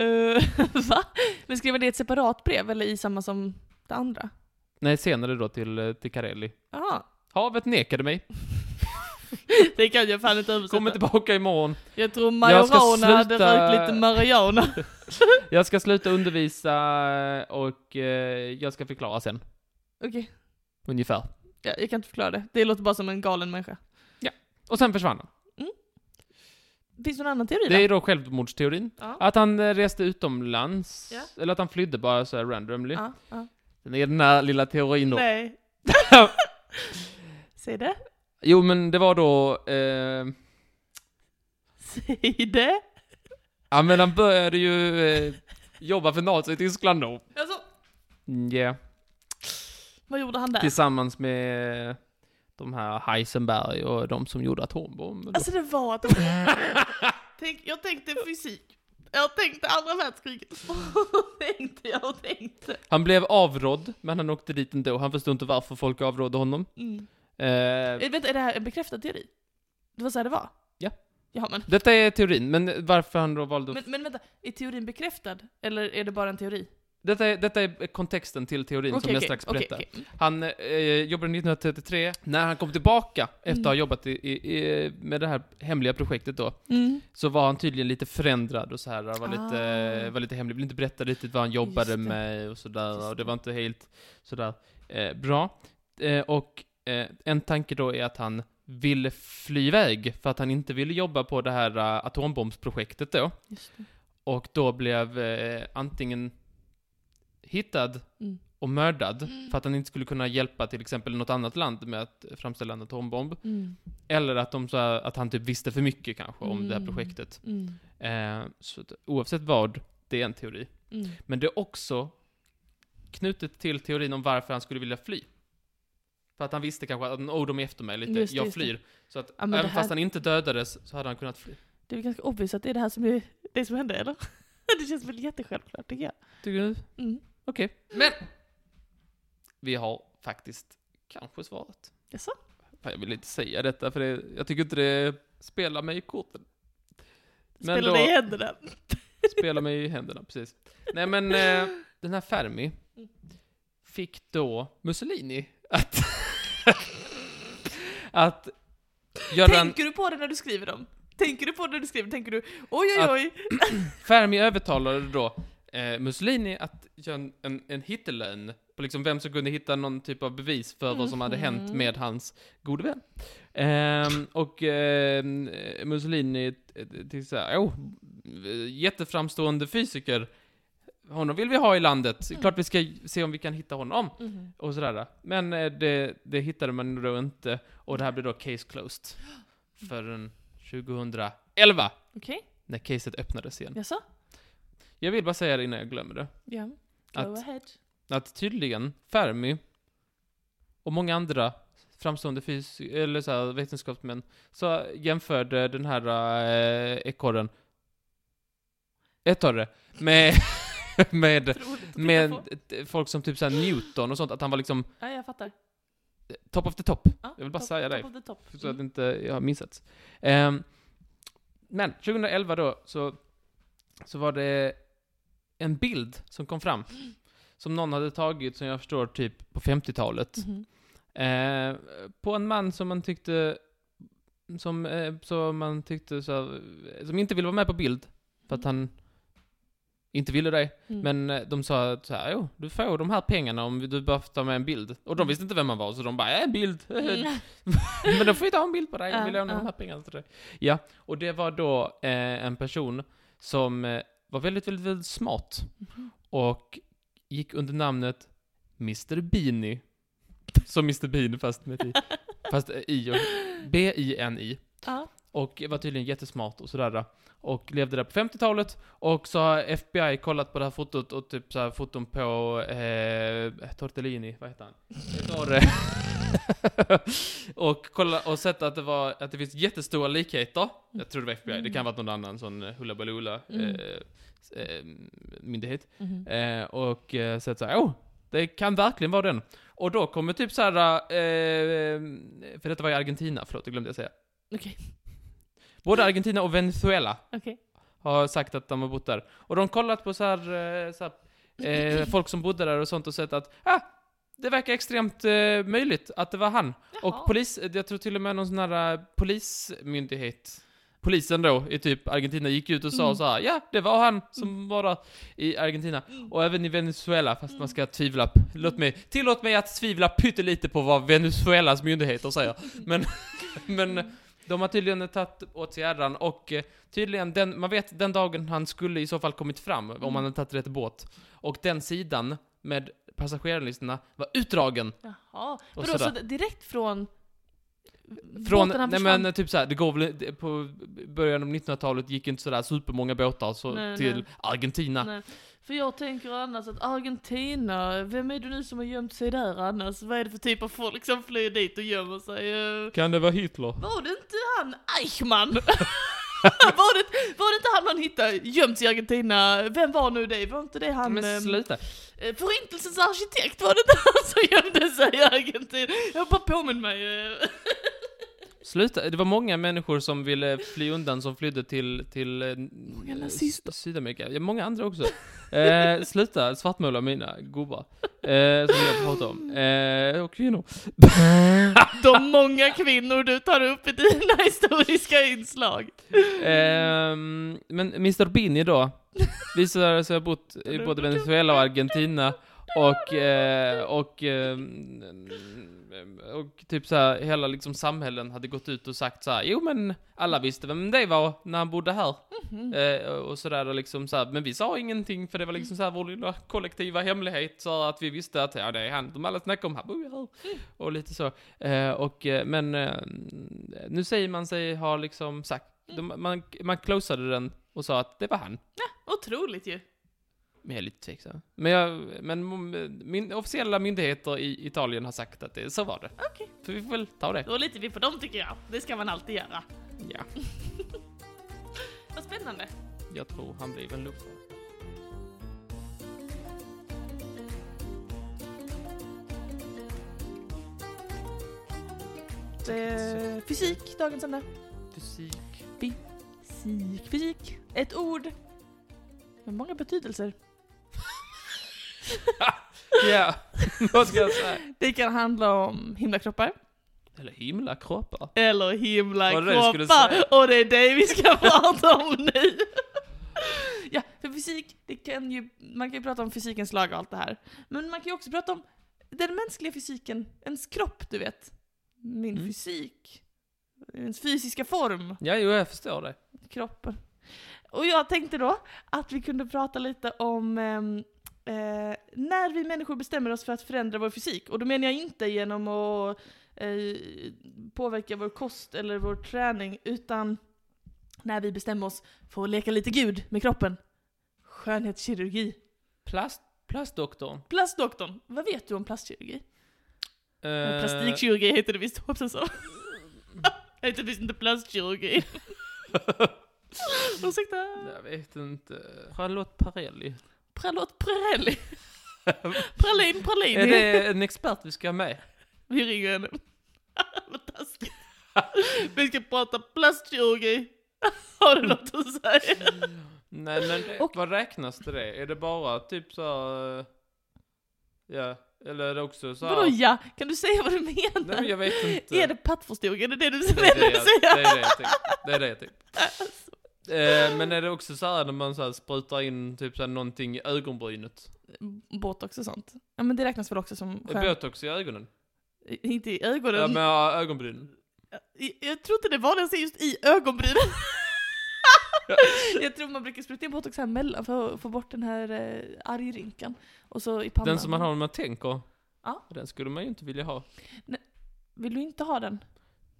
Speaker 1: Uh, [LAUGHS] va? Men skriver det i ett separat brev eller i samma som det andra?
Speaker 2: Nej, senare då till, eh, till Carelli.
Speaker 1: Jaha.
Speaker 2: Havet nekade mig,
Speaker 1: Det kan jag fan inte översätta.
Speaker 2: kommer tillbaka imorgon.
Speaker 1: Jag tror
Speaker 2: Jag ska
Speaker 1: Majorana hade
Speaker 2: sluta-
Speaker 1: rökt lite Mariana.
Speaker 2: Jag ska sluta undervisa och eh, jag ska förklara sen.
Speaker 1: [LAUGHS] Okej,
Speaker 2: Ungefär.
Speaker 1: ja, jag kan inte förklara det. Det låter bara som en galen människa.
Speaker 2: Och sen försvann han.
Speaker 1: Finns det någon annan teori då?
Speaker 2: Det är då självmordsteorin.
Speaker 1: Ja.
Speaker 2: Att han eh, reste utomlands,
Speaker 1: Ja.
Speaker 2: eller att han flydde bara så här randomly.
Speaker 1: Ja, ja.
Speaker 2: Det är den här lilla teorin då. [LAUGHS]
Speaker 1: Nej. Säg det.
Speaker 2: Jo, men det var då... Eh,
Speaker 1: Säg det.
Speaker 2: ja, men han började ju eh, jobba för Nazi i Tyskland då.
Speaker 1: Alltså,
Speaker 2: Mm, Yeah.
Speaker 1: vad gjorde han där?
Speaker 2: Tillsammans med de här Heisenberg och de som gjorde atombomben. då.
Speaker 1: Alltså det var
Speaker 2: [LAUGHS]
Speaker 1: att... Tänk, jag tänkte fysik. Jag tänkte andra världskriget. [LAUGHS] Och tänkte jag och tänkte.
Speaker 2: Han blev avrådd, men han åkte dit ändå. Han förstod inte varför folk avrådde honom.
Speaker 1: Mm.
Speaker 2: Eh,
Speaker 1: Eh, Vänta, är det här en bekräftad teori? Det var så här det var?
Speaker 2: Ja.
Speaker 1: Ja men.
Speaker 2: detta är teorin, men varför han då valde...
Speaker 1: men. Men vänta, är teorin bekräftad? Eller är det bara en teori?
Speaker 2: Detta, är, detta är kontexten till teorin som jag strax
Speaker 1: okej,
Speaker 2: berättar.
Speaker 1: okej. Mm.
Speaker 2: Han eh, jobbade 1933. När han kom tillbaka efter att ha jobbat i, i, i, med det här hemliga projektet då,
Speaker 1: Mm.
Speaker 2: så var han tydligen lite förändrad och så här, var, lite,
Speaker 1: Ah.
Speaker 2: var lite hemlig, ville inte berätta riktigt vad han jobbade
Speaker 1: det.
Speaker 2: med och sådär,
Speaker 1: Just
Speaker 2: och det
Speaker 1: det.
Speaker 2: var inte helt sådär eh, bra. Eh, och eh, en tanke då är att han ville fly iväg för att han inte ville jobba på det här eh, atombombsprojektet då.
Speaker 1: Just det.
Speaker 2: Och då blev eh, antingen hittad
Speaker 1: Mm.
Speaker 2: och mördad
Speaker 1: Mm.
Speaker 2: för att han inte skulle kunna hjälpa till exempel något annat land med att framställa en atombomb.
Speaker 1: Mm.
Speaker 2: Eller att, de, så här, att han typ visste för mycket kanske om det här
Speaker 1: Mm.
Speaker 2: projektet.
Speaker 1: Mm.
Speaker 2: Eh, så att, oavsett vad, det är en teori.
Speaker 1: Mm.
Speaker 2: Men det är också knutet till teorin om varför han skulle vilja fly. För att han visste kanske att oh, de är efter mig lite,
Speaker 1: Just det,
Speaker 2: jag
Speaker 1: just det.
Speaker 2: flyr. Så att
Speaker 1: Ja, men det
Speaker 2: även
Speaker 1: här-
Speaker 2: fast han inte dödades så hade han kunnat fly.
Speaker 1: Det är väl ganska obvious att det är det här som, är, det som hände, eller? [LAUGHS] Det känns väl jättesjälvklart, tycker jag.
Speaker 2: Tycker du?
Speaker 1: Mm.
Speaker 2: Okej. Men! Vi har faktiskt kanske svarat.
Speaker 1: Jaså?
Speaker 2: Fan, jag vill inte säga detta för det, jag tycker inte det spelar mig i korten. Men
Speaker 1: Spelar
Speaker 2: då-
Speaker 1: det i händerna?
Speaker 2: Spelar mig i händerna, precis. Nej men, eh, den här Fermi fick då Mussolini att... [LAUGHS] att göra en,
Speaker 1: Tänker du på det när du skriver dem? Tänker du på det när du skriver? Tänker du oj oj
Speaker 2: Att-
Speaker 1: oj?
Speaker 2: Fermi övertalade då eh, Mussolini att göra en, en, en hittelön på liksom vem som kunde hitta någon typ av bevis för vad som hade hänt
Speaker 1: Mhm.
Speaker 2: med hans gode vän. Ehm, och ehm, eh, Mussolini eh, till så här, oh, eh, jätteframstående fysiker. Honom vill vi ha i landet. Klart vi ska se om vi kan hitta honom.
Speaker 1: Mm.
Speaker 2: Och sådär. Men eh, det, det hittade man då inte. Och det här blev då case closed. Förrän 2011.
Speaker 1: Okej,
Speaker 2: När caset öppnades igen.
Speaker 1: jaså?
Speaker 2: Jag vill bara säga det innan jag glömmer det.
Speaker 1: Ja. Go
Speaker 2: Att,
Speaker 1: ahead.
Speaker 2: att tydligen Fermi och många andra framstående fys- eller så här, vetenskapsmän så jämförde den här eh, ekorren Ett av det. Med, [LAUGHS] med,
Speaker 1: Roligt att titta
Speaker 2: med
Speaker 1: på.
Speaker 2: t- folk som typ såhär Newton och sånt, att han var liksom
Speaker 1: Ja, jag fattar.
Speaker 2: eh, top of the top.
Speaker 1: Ja,
Speaker 2: Jag vill bara
Speaker 1: topp- Mm.
Speaker 2: säga det.
Speaker 1: Top of the top.
Speaker 2: Så att inte jag har missat. Ehm, men 2011 då, så, så var det en bild som kom fram. Som någon hade tagit, som jag förstår, typ på 50-talet.
Speaker 1: Mhm.
Speaker 2: Eh, på en man som man tyckte som, eh, som man tyckte så här, som inte ville vara med på bild för att han inte ville det.
Speaker 1: Mm.
Speaker 2: Men eh, de sa att så här, jo, du får de här pengarna om du behöver ta med en bild. Och de visste inte vem man var, så de bara, äh, bild. [LAUGHS]
Speaker 1: Mm.
Speaker 2: Men då får vi ta en bild på dig om vi
Speaker 1: Ja,
Speaker 2: lånar
Speaker 1: ja.
Speaker 2: de här pengarna till dig. Ja, och det var då eh, en person som eh, var väldigt, väldigt, väldigt smart
Speaker 1: Mhm.
Speaker 2: och gick under namnet Mr. Beanie. Som Mr. Bean fast med ett i. Fast eh, i och B-I-N-I.
Speaker 1: [LAUGHS]
Speaker 2: [LAUGHS]
Speaker 1: Ja.
Speaker 2: Och var tydligen jättesmart och sådär. Och levde där på 50-talet. Och så har FBI kollat på det här fotot och typ så här foton på eh, Tortellini, vad heter han? Ettore. och, kolla, och sett att det, var, att det finns jättestora likheter. Jag tror det var FBI, det kan ha varit någon annan sån eh, hullabaloola
Speaker 1: Mm.
Speaker 2: eh, s- eh, myndighet.
Speaker 1: Mhm.
Speaker 2: Eh, och eh, sett såhär, oh, det kan verkligen vara den. Och då kommer typ såhär, eh, för detta var i Argentina, förlåt, det glömde jag säga.
Speaker 1: Okej,
Speaker 2: Både Argentina och Venezuela
Speaker 1: okej.
Speaker 2: har sagt att de har bott där. Och de har kollat på såhär, eh, så här, eh, folk som bodde där och sånt och sett att, ah, det verkar extremt eh, möjligt att det var han.
Speaker 1: Jaha.
Speaker 2: Och polis, jag tror till och med någon sån här eh, polismyndighet, polisen då i typ Argentina gick ut och sa
Speaker 1: Mm. Mm.
Speaker 2: så här, ja, det var han som var där i Argentina. Och även i Venezuela, fast man ska tvivla. p- Låt mig, tillåt mig att tvivla pyttelite på vad Venezuelas
Speaker 1: [LAUGHS]
Speaker 2: myndigheter säger. Men, men de har tydligen tagit åt sig äran och eh, tydligen, den, man vet den dagen han skulle i så fall kommit fram,
Speaker 1: Mm.
Speaker 2: om han hade tagit rätt båt. Och den sidan med passagerarlistorna var utdragen.
Speaker 1: Jaha.
Speaker 2: Och
Speaker 1: Vadå, så
Speaker 2: sådär.
Speaker 1: direkt från...
Speaker 2: Från,
Speaker 1: båten han
Speaker 2: nej
Speaker 1: försvann?
Speaker 2: men typ såhär, det går väl, det- på början av 1900-talet gick inte sådär supermånga båtar så,
Speaker 1: Nej,
Speaker 2: till
Speaker 1: nej.
Speaker 2: Argentina.
Speaker 1: Nej. För jag tänker annars att Argentina, vem är det nu som har gömt sig där annars? Vad är det för typ av folk som flyr dit och gömmer sig? Eh,
Speaker 2: Kan det vara Hitler?
Speaker 1: Var det inte han Eichmann? [LAUGHS] var, det, var det inte han man hittade gömt i Argentina? Vem var nu det? Var inte det han...
Speaker 2: Men
Speaker 1: ehm,
Speaker 2: sluta.
Speaker 1: eh, Förintelsens arkitekt, var det inte han som gömde sig i Argentina? Jag bara påminner mig. eh.
Speaker 2: Sluta, det var många människor som ville fly undan som flydde till, till eh, eh,
Speaker 1: nazister.
Speaker 2: S- Sydamerika. Ja, många andra också. eh, sluta svartmåla mina gubbar. Eh, som jag pratar om. Eh, och kvinnor.
Speaker 1: De många kvinnor du tar upp i dina [LAUGHS] historiska inslag.
Speaker 2: Ehm, men Mr. Bini då, visar sig ha bott i både Venezuela och Argentina och, eh, och, ehm, och typ så här, hela liksom samhällen hade gått ut och sagt så här, jo men alla visste vem det var när han bodde här. Eh, och sådär och liksom så här, men vi sa ingenting för det var liksom så här vår lilla kollektiva hemlighet så här, att vi visste att ja det är han, de alla snackar om, han bor ju här. Och lite så. Eh, och, eh, men eh, nu säger man sig ha liksom sagt, de, man, man closade den och sa att det var han.
Speaker 1: Otroligt ju.
Speaker 2: Men jag är lite tveksam. Men, jag, men min, officiella myndigheter i Italien har sagt att det, så var det.
Speaker 1: Okej.
Speaker 2: Så vi får väl ta det.
Speaker 1: Då litar vi på dem tycker jag. Det ska man alltid göra.
Speaker 2: Ja,
Speaker 1: Vad spännande.
Speaker 2: jag tror han blev en luffare.
Speaker 1: Eh, fysik, dagens ämne.
Speaker 2: Fysik.
Speaker 1: Fysik, fysik. Ett ord med många betydelser.
Speaker 2: Ja, [LAUGHS] vad ska jag säga?
Speaker 1: [LAUGHS] Det kan handla om himlakroppar.
Speaker 2: Eller himla kroppar.
Speaker 1: Eller
Speaker 2: Vad är det du skulle säga?
Speaker 1: himlakroppar. Och det är det vi
Speaker 2: [LAUGHS]
Speaker 1: ska prata om nu. Ja, för fysik, det kan ju, man kan ju prata om fysikens lag och allt det här. Men man kan ju också prata om den mänskliga fysiken, ens kropp du vet. Min
Speaker 2: Mm.
Speaker 1: fysik. Ens fysiska form,
Speaker 2: Ja, jo, jag förstår det.
Speaker 1: kroppen. Och jag tänkte då att vi kunde prata lite om ehm, eh, när vi människor bestämmer oss för att förändra vår fysik. Och då menar jag inte genom att eh, påverka vår kost eller vår träning, utan när vi bestämmer oss för att leka lite gud med kroppen. Skönhetskirurgi.
Speaker 2: Plast, plastdoktorn.
Speaker 1: Plastdoktorn, vad vet du om plastkirurgi?
Speaker 2: Eh,
Speaker 1: Uh... Plastikkirurgi [LAUGHS] heter det visst, hoppas jag så. Det heter visst inte plastkirurgi. Ursäkta.
Speaker 2: Jag vet inte. Charlotte Parelli.
Speaker 1: Pralot
Speaker 2: [LAUGHS]
Speaker 1: Prelli. Pralin Pralini.
Speaker 2: Är det en expert vi ska ha med?
Speaker 1: Vi ringer henne. [LAUGHS] Vad taskigt. Vi ska prata plastkirurgi. [LAUGHS] Har du något att säga?
Speaker 2: Nej men det,
Speaker 1: Och-
Speaker 2: vad räknas till det? Är det bara typ så här, eh, Ja, eller är det också så här-
Speaker 1: Vadå ja? Kan du säga vad du menar?
Speaker 2: Nej men jag vet inte.
Speaker 1: Är det pattförstoring? Är det det du
Speaker 2: Det är det
Speaker 1: menar
Speaker 2: jag,
Speaker 1: att säga?
Speaker 2: det är det jag tänkte. Det är det jag tänkte. Eh, men är det också så här när man så här sprutar in typ så här någonting i ögonbrynet?
Speaker 1: Botox och sånt. Ja men det räknas väl också som
Speaker 2: Är Botox i ögonen?
Speaker 1: Inte i
Speaker 2: Ja
Speaker 1: ögonen.
Speaker 2: men ja, ögonbrynen.
Speaker 1: Eh, Jag- Jag tror inte det vanligaste är just i
Speaker 2: [LAUGHS]
Speaker 1: ögonbrynen. jag tror man brukar spruta in botox här mellan för att få bort den här eh, argrynkan. Och så i pannan.
Speaker 2: Den som man har när man tänker.
Speaker 1: Ja.
Speaker 2: Den skulle man ju inte vilja ha.
Speaker 1: Vill du inte ha den?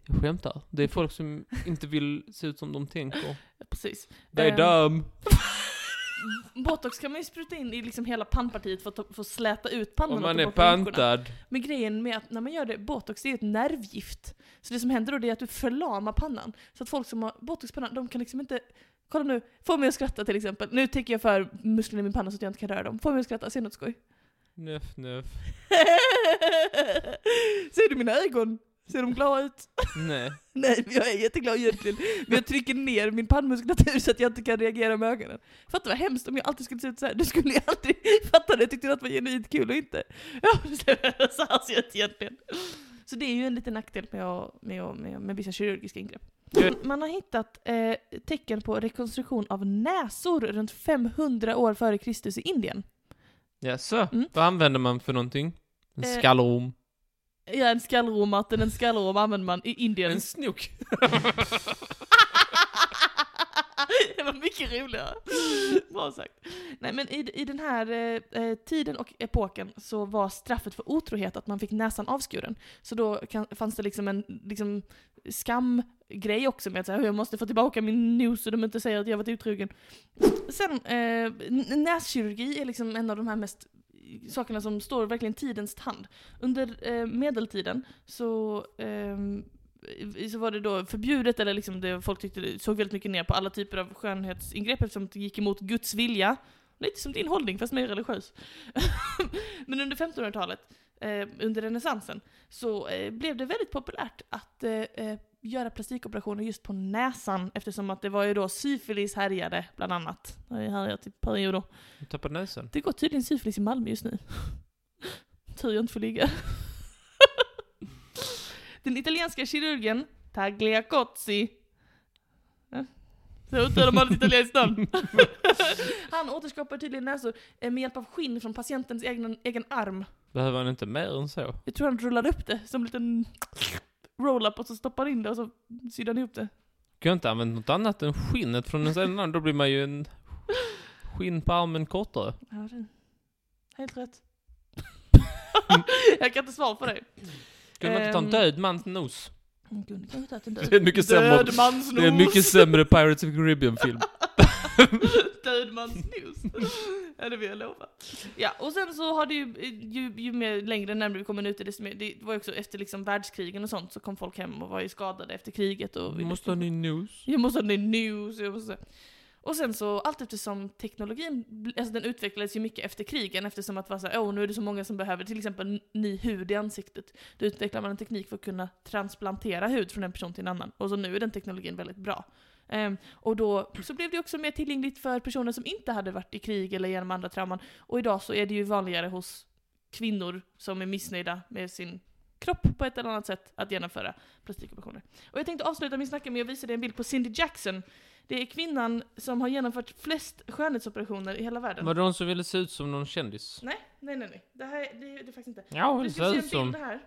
Speaker 2: Jag skämtar. Det är folk som inte vill se ut som de tänker.
Speaker 1: Ja, Precis.
Speaker 2: Det är
Speaker 1: Ehm.
Speaker 2: dum.
Speaker 1: Botox kan man ju spruta in i liksom hela pannpartiet för att ta- för att släta ut pannan
Speaker 2: Om
Speaker 1: och
Speaker 2: man
Speaker 1: ta
Speaker 2: är
Speaker 1: bort rynkorna.
Speaker 2: pantad.
Speaker 1: Men grejen med att när man gör det, botox det är ju ett nervgift. Så det som händer då det är att du förlamar pannan. Så att folk som har botox på pannan, de kan liksom inte... Kolla nu, få mig att skratta till exempel. Nu tänker jag för musklerna i min panna så att jag inte kan röra dem. Få mig att skratta, säg något skoj.
Speaker 2: Nöff, nöff.
Speaker 1: [LAUGHS] Ser du mina ögon? Ser de glada ut? [LAUGHS]
Speaker 2: Nej.
Speaker 1: Nej, men jag är jätteglad egentligen. Men jag trycker ner min pannmuskulatur så att jag inte kan reagera med ögonen. Fattar vad hemskt om jag alltid skulle se ut så här. Du skulle ju aldrig [LAUGHS] fatta det. Tyckte du att det var genuint kul och inte? Ja, [LAUGHS] så här ser jag ut egentligen. Så det är ju en liten nackdel med, att- med, att- med, med vissa kirurgiska ingrepp. Man har hittat eh, tecken på rekonstruktion av näsor runt 500 år före Kristus i Indien.
Speaker 2: Jaså?
Speaker 1: Mm.
Speaker 2: Vad använder man för någonting? En
Speaker 1: Eh,
Speaker 2: skallorm.
Speaker 1: Ja, en skallorm, Martin. En skallorm använder man i Indien.
Speaker 2: En snok. [LAUGHS]
Speaker 1: det var mycket roligare. Bra sagt. Nej men i, i den här eh, eh, tiden och epoken så var straffet för otrohet att man fick näsan avskuren. Så då kan, fanns det liksom en liksom, skamgrej också med att säga jag måste få tillbaka min nos så de inte säger att jag varit otrogen. Sen, eh, n- näskirurgi är liksom en av de här mest eh, sakerna som står verkligen tidens tand. Under eh, medeltiden så ehm, i- så var det då förbjudet, eller liksom det folk tyckte det såg väldigt mycket ner på alla typer av skönhetsingrepp eftersom det gick emot Guds vilja. Lite som din hållning, fast mer religiös. [LAUGHS] Men under 1500-talet, eh, under renässansen, så eh, blev det väldigt populärt att eh, eh, göra plastikoperationer just på näsan eftersom att det var ju då syfilis härjade, bland annat. Det har ju härjat i perioder.
Speaker 2: Jag tappade näsan.
Speaker 1: Det går tydligen syfilis i Malmö just nu. [LAUGHS] Tur jag inte får ligga. [LAUGHS] Den italienska kirurgen Tagliacozzi. Ja, Så ut de har ett italienskt namn. [LAUGHS] Han återskapar tydligen näsor eh, med hjälp av skinn från patientens egen, egen arm.
Speaker 2: Behöver han inte mer än så?
Speaker 1: Jag tror han rullar upp det som en liten roll-up och så stoppar in det och så syr han ihop det.
Speaker 2: Kan jag inte använda något annat än skinnet från en annan? Då blir man ju en skinn på armen kortare.
Speaker 1: Ja, det... Helt [LAUGHS] rätt. jag kan inte svara på dig.
Speaker 2: Skulle man inte ta en
Speaker 1: Ehm.
Speaker 2: död mans nos?
Speaker 1: Hon kunde kanske tagit en
Speaker 2: Det är
Speaker 1: död.
Speaker 2: mycket sämre.
Speaker 1: Död mans
Speaker 2: Det är en mycket
Speaker 1: nos.
Speaker 2: sämre Pirates of the [LAUGHS] Caribbean-film.
Speaker 1: Död mans nos. [LAUGHS] Ja, det vill jag lova. Ja, och sen så har det ju, ju, ju mer längre närmare vi kommer ut i det, som är- det var ju också efter liksom världskrigen och sånt så kom folk hem och var ju skadade efter kriget och ville-
Speaker 2: Måste ha en ny nos.
Speaker 1: jag måste ha ny news, jag måste... Och sen så, allt eftersom teknologin, bl- alltså den utvecklades ju mycket efter krigen eftersom att det var såhär, åh nu är det så många som behöver till exempel n- ny hud i ansiktet. Då utvecklar man en teknik för att kunna transplantera hud från en person till en annan. Och så nu är den teknologin väldigt bra. Ehm, och då så blev det också mer tillgängligt för personer som inte hade varit i krig eller genom andra trauman. Och idag så är det ju vanligare hos kvinnor som är missnöjda med sin kropp på ett eller annat sätt att genomföra plastikoperationer. Och jag tänkte avsluta min snacka med att visa dig en bild på Cindy Jackson. Det är kvinnan som har genomfört flest skönhetsoperationer i hela världen.
Speaker 2: Var det någon som ville se ut som någon kändis?
Speaker 1: Nej, nej, nej, nej. Det här det, är- det är faktiskt inte.
Speaker 2: Ja, hon
Speaker 1: Du
Speaker 2: ser
Speaker 1: ska
Speaker 2: ut
Speaker 1: se en
Speaker 2: som
Speaker 1: bild här.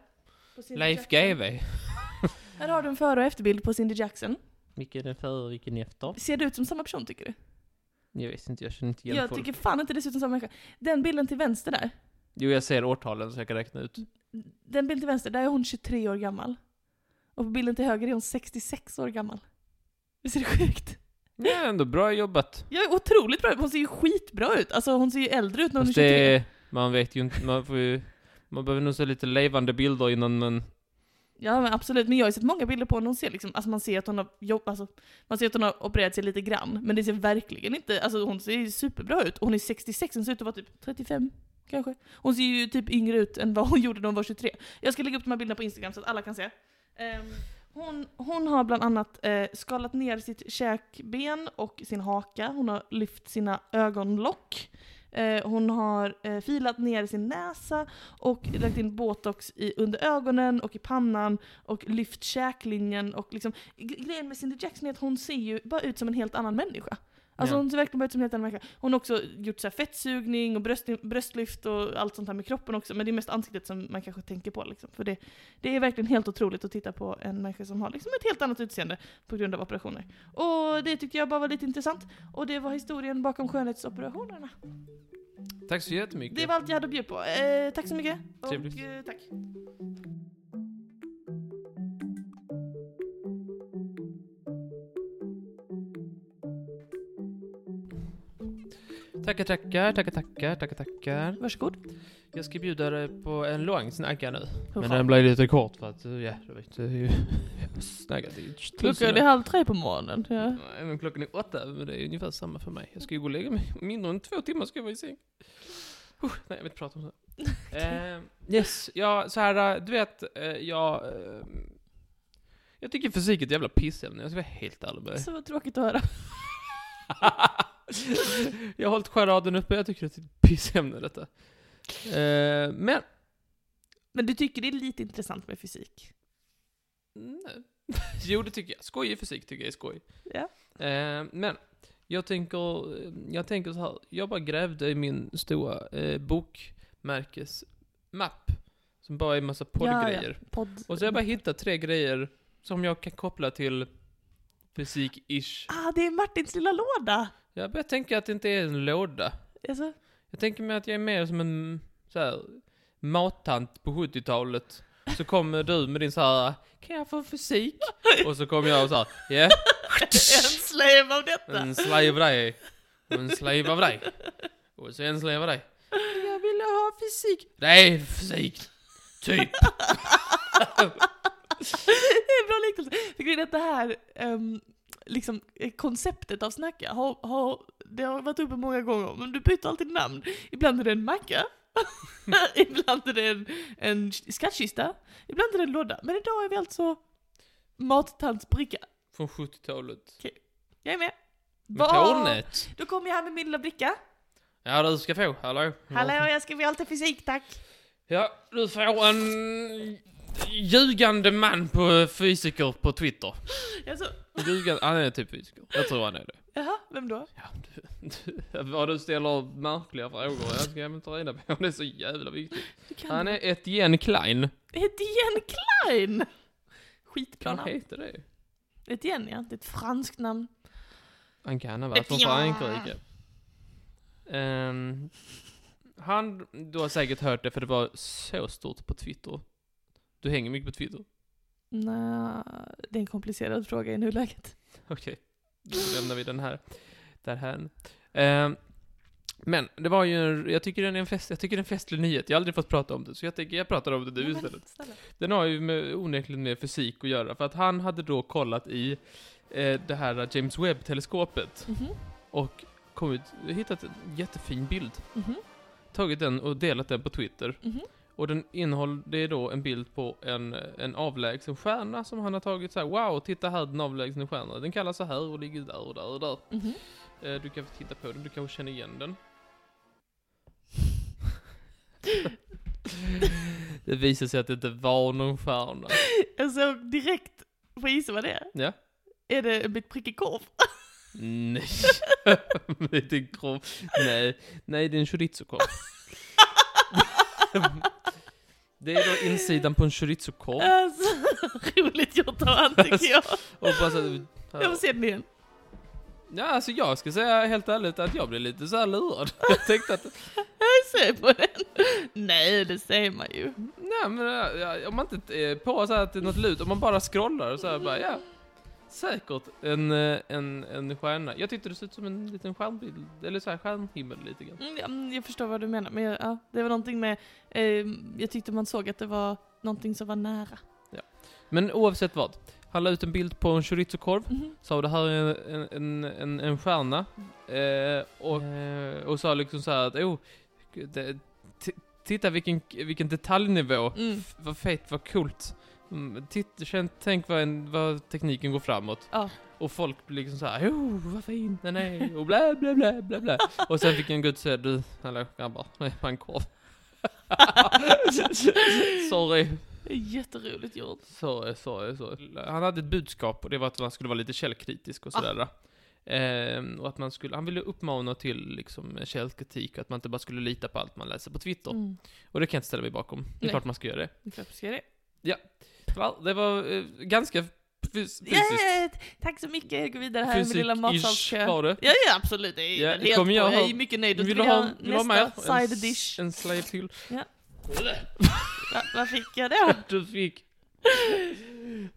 Speaker 1: på Cindy
Speaker 2: Leif
Speaker 1: Jackson.
Speaker 2: GW.
Speaker 1: Här har du en före och efterbild på Cindy Jackson.
Speaker 2: Vilken är före, vilken är efter?
Speaker 1: Ser det ut som samma person tycker du?
Speaker 2: Jag vet inte, jag känner inte igen
Speaker 1: Jag
Speaker 2: folk.
Speaker 1: tycker fan inte det ser ut som samma människa. Den bilden till vänster där.
Speaker 2: Jo, jag ser årtalen så jag kan räkna ut.
Speaker 1: Den bilden till vänster, där är hon 23 år gammal. Och på bilden till höger är hon 66 år gammal. Visst är det sjukt?
Speaker 2: Ja, ändå bra jobbat.
Speaker 1: Jag är otroligt bra Hon ser ju skitbra ut. Alltså hon ser ju äldre ut när hon är
Speaker 2: Fast
Speaker 1: 23.
Speaker 2: det, man vet ju inte, man får ju, man behöver nog se lite levande bilder innan man
Speaker 1: Ja men absolut, men jag har ju sett många bilder på henne, hon ser liksom, alltså man ser att hon har jobb, alltså, man ser att hon har opererat sig lite grann, men det ser verkligen inte, alltså hon ser ju superbra ut. Hon är 66, hon ser ut att vara typ 35 kanske. Hon ser ju typ yngre ut än vad hon [LAUGHS] gjorde när hon var 23. Jag ska lägga upp de här bilderna på Instagram så att alla kan se. Ehm, hon, hon har bland annat eh, skalat ner sitt käkben och sin haka, hon har lyft sina ögonlock, eh, hon har eh, filat ner sin näsa och lagt in botox i, under ögonen och i pannan och lyft käklinjen och liksom gre- Grejen med Cindy Jackson är att hon ser ju bara ut som en helt annan människa. Alltså
Speaker 2: Ja.
Speaker 1: hon ser verkligen bara ut som en helt annan människa. Hon har också gjort så här fettsugning och bröst, bröstlyft och allt sånt här med kroppen också. Men det är mest ansiktet som man kanske tänker på liksom. För det, det är verkligen helt otroligt att titta på en människa som har liksom ett helt annat utseende på grund av operationer. Och det tyckte jag bara var lite intressant. Och det var historien bakom skönhetsoperationerna.
Speaker 2: Tack så jättemycket.
Speaker 1: Det var allt jag hade att bjuda på. Eh, tack så mycket. Och,
Speaker 2: Trevligt.
Speaker 1: eh, tack.
Speaker 2: Tackar, tackar, tackar, tackar, tackar, tackar.
Speaker 1: Varsågod.
Speaker 2: Jag ska bjuda dig på en lång snacka nu.
Speaker 1: Hur
Speaker 2: Men
Speaker 1: fan?
Speaker 2: den blir lite kort för att, eh, ja, du vet. eh, Snackat i tusen
Speaker 1: Klockan är
Speaker 2: år.
Speaker 1: halv tre på morgonen. Ja.
Speaker 2: Nej, men klockan är åtta, men det är ungefär samma för mig. Jag ska ju gå och lägga mig. Mindre än två timmar ska jag vara i säng. Huh, nej, jag vill inte prata om det. Eh, yes, ja, så här, eh, du vet, eh, jag... eh, jag tycker fysik är ett jävla pissämne, jag ska vara helt ärlig
Speaker 1: [LAUGHS]
Speaker 2: med dig.
Speaker 1: Så vad tråkigt att höra.
Speaker 2: jag har hållit charaden uppe, jag tycker det är ett pissämne detta. Eh, men...
Speaker 1: Men du tycker det är lite intressant med fysik?
Speaker 2: Nej. [LAUGHS] jo, det tycker jag. Skojig fysik tycker jag är skoj.
Speaker 1: Ja.
Speaker 2: Eh, men, jag tänker, jag tänker så här. Jag bara grävde i min stora eh, bokmärkesmapp. Som bara är en massa poddgrejer.
Speaker 1: ja. Podd.
Speaker 2: Och så har jag bara hittat tre grejer som jag kan koppla till fysik-ish.
Speaker 1: Ah, det är Martins lilla låda!
Speaker 2: Jag börjar tänka att det inte är en låda. [LAUGHS]
Speaker 1: Alltså,
Speaker 2: Jag tänker mig att jag är mer som en så här, mattant på 70-talet. Så kommer du med din så här, kan jag få fysik? Och så kommer jag och så här, ja,
Speaker 1: en slave av detta!
Speaker 2: en slave av dig. Och en slave av dig. Och så en slave av dig. Jag ville ha fysik. Nej, fysik. Typ.
Speaker 1: Det är en bra liknelse. För grejen är att det här ehm, liksom, eh, konceptet av snacka, har, har, det har varit uppe många gånger, men du byter alltid namn. Ibland är det en macka, [LAUGHS] ibland är det en, en skattkista, ibland är det en låda. Men idag är vi alltså mattantsbricka.
Speaker 2: Från 70-talet.
Speaker 1: Jag är med.
Speaker 2: Med
Speaker 1: Vad-
Speaker 2: tornet.
Speaker 1: Då kommer jag här med min lilla bricka.
Speaker 2: Ja, du ska få. Hallå.
Speaker 1: Hallå, jag ska bli alltid fysik, tack.
Speaker 2: Ja, du får en ljugande man på fysiker på Twitter.
Speaker 1: Jag så,
Speaker 2: Ljugande, han är typ fysiker. Jag tror han är det.
Speaker 1: jaha, vem då?
Speaker 2: Ja, du, du, vad du ställer märkliga frågor, jag ska jag inte reda på. Det är så jävla viktigt.
Speaker 1: Du kan
Speaker 2: Han är Etienne Klein.
Speaker 1: Etienne Klein! Skitbra
Speaker 2: Han
Speaker 1: namn.
Speaker 2: heter det.
Speaker 1: Etienne, ja. Det är ett franskt namn.
Speaker 2: Han kan ha varit från
Speaker 1: Etienne.
Speaker 2: Frankrike. Ehm, han, du har säkert hört det för det var så stort på Twitter. Du hänger mycket på Twitter. [LAUGHS]
Speaker 1: Nja, det är en komplicerad fråga i nuläget.
Speaker 2: Okej, då lämnar vi den här. Där här. Ehm, men det var ju, jag tycker den är en fest, jag tycker det är en festlig nyhet. Jag har aldrig fått prata om det, så jag tänker jag pratar om det
Speaker 1: Ja,
Speaker 2: nu
Speaker 1: men
Speaker 2: istället.
Speaker 1: snälla.
Speaker 2: Den har ju med, onekligen med fysik att göra, för att han hade då kollat i eh, det här James Webb-teleskopet
Speaker 1: Mhm,
Speaker 2: och kommit, hittat en jättefin bild,
Speaker 1: mhm,
Speaker 2: tagit den och delat den på Twitter.
Speaker 1: mhm.
Speaker 2: Och den innehåller, det är då en bild på en, en avlägsen stjärna som han har tagit så här, wow, titta här den avlägsna stjärnan, den kallas så här och ligger där och där och där.
Speaker 1: mhm.
Speaker 2: Eh, du kan få titta på den, du kanske känner igen
Speaker 1: [LAUGHS]
Speaker 2: den. det visade sig att det inte var någon stjärna.
Speaker 1: Jag såg Alltså, direkt, får jag gissa vad det är?
Speaker 2: Ja.
Speaker 1: Är det en bit prickig
Speaker 2: [LAUGHS]
Speaker 1: korv? [LAUGHS]
Speaker 2: Nej, det är en korv. Nej, nej det är en chorizo-korv. Det är då insidan på en chorizo-korv.
Speaker 1: Alltså, [LAUGHS] roligt gjort av han
Speaker 2: Alltså.
Speaker 1: tycker jag.
Speaker 2: Och bara så
Speaker 1: Jag får
Speaker 2: här,
Speaker 1: se den igen.
Speaker 2: ja, alltså jag ska säga helt ärligt att jag blev lite så här lurad. [LAUGHS] Jag tänkte att,
Speaker 1: Jag ser på den. Nej, det ser man ju.
Speaker 2: nej men ja, om man inte är på så här att det är något lut, om man bara scrollar och så här bara, ja. Säkert en, eh, en, en stjärna. Jag tyckte det såg ut som en liten stjärnbild, eller så här stjärnhimmel lite grann.
Speaker 1: Mm, ja, mm, Jag förstår vad du menar, men ehm, jag, ja, det var någonting med... Eh, jag tyckte man såg att det var någonting som var nära.
Speaker 2: Men oavsett vad. Han la ut en bild på en chorizo-korv.
Speaker 1: Mhm.
Speaker 2: Sa det här är en, en, en, en stjärna. Eh, och, eh, och sa liksom så här att oh, det, t- titta vilken, vilken detaljnivå.
Speaker 1: Mm.
Speaker 2: F- vad fett, vad coolt. Mm, titt, känn, tänk vad, en, vad tekniken går framåt. [LAUGHS]
Speaker 1: Ja.
Speaker 2: Och folk blir liksom såhär oh vad fin den är och bla bla bla bla bla. och sen fick en gud säga du, hallå grabbar, nu är man korv. [LAUGHS] sorry,
Speaker 1: Det är Jätteroligt gjort.
Speaker 2: sorry, sorry, sorry. Han hade ett budskap och det var att man skulle vara lite källkritisk
Speaker 1: Ah.
Speaker 2: och sådär. Ehm, och att man skulle, han ville uppmana till liksom källkritik och att man inte bara skulle lita på allt man läser på Twitter.
Speaker 1: Mm.
Speaker 2: Och det kan jag inte ställa mig bakom. Det är
Speaker 1: Nej.
Speaker 2: klart man ska göra det.
Speaker 1: Klart vi ska göra det.
Speaker 2: Ja, Det var eh, ganska fys- fysiskt.
Speaker 1: Yeah, tack så mycket, jag går vidare här med min lilla
Speaker 2: Fysik-ish
Speaker 1: matsalskö.
Speaker 2: var det.
Speaker 1: Ja, ja absolut. Det är
Speaker 2: Ja,
Speaker 1: helt
Speaker 2: kommer jag
Speaker 1: jag, jag
Speaker 2: ha-
Speaker 1: är mycket nöjd. Då
Speaker 2: Vill
Speaker 1: vill
Speaker 2: du
Speaker 1: jag
Speaker 2: ha, vill du ha mer?
Speaker 1: nästa
Speaker 2: En
Speaker 1: side
Speaker 2: s-
Speaker 1: dish.
Speaker 2: En slide till.
Speaker 1: Va, vad fick jag då?
Speaker 2: [LAUGHS] Du fick...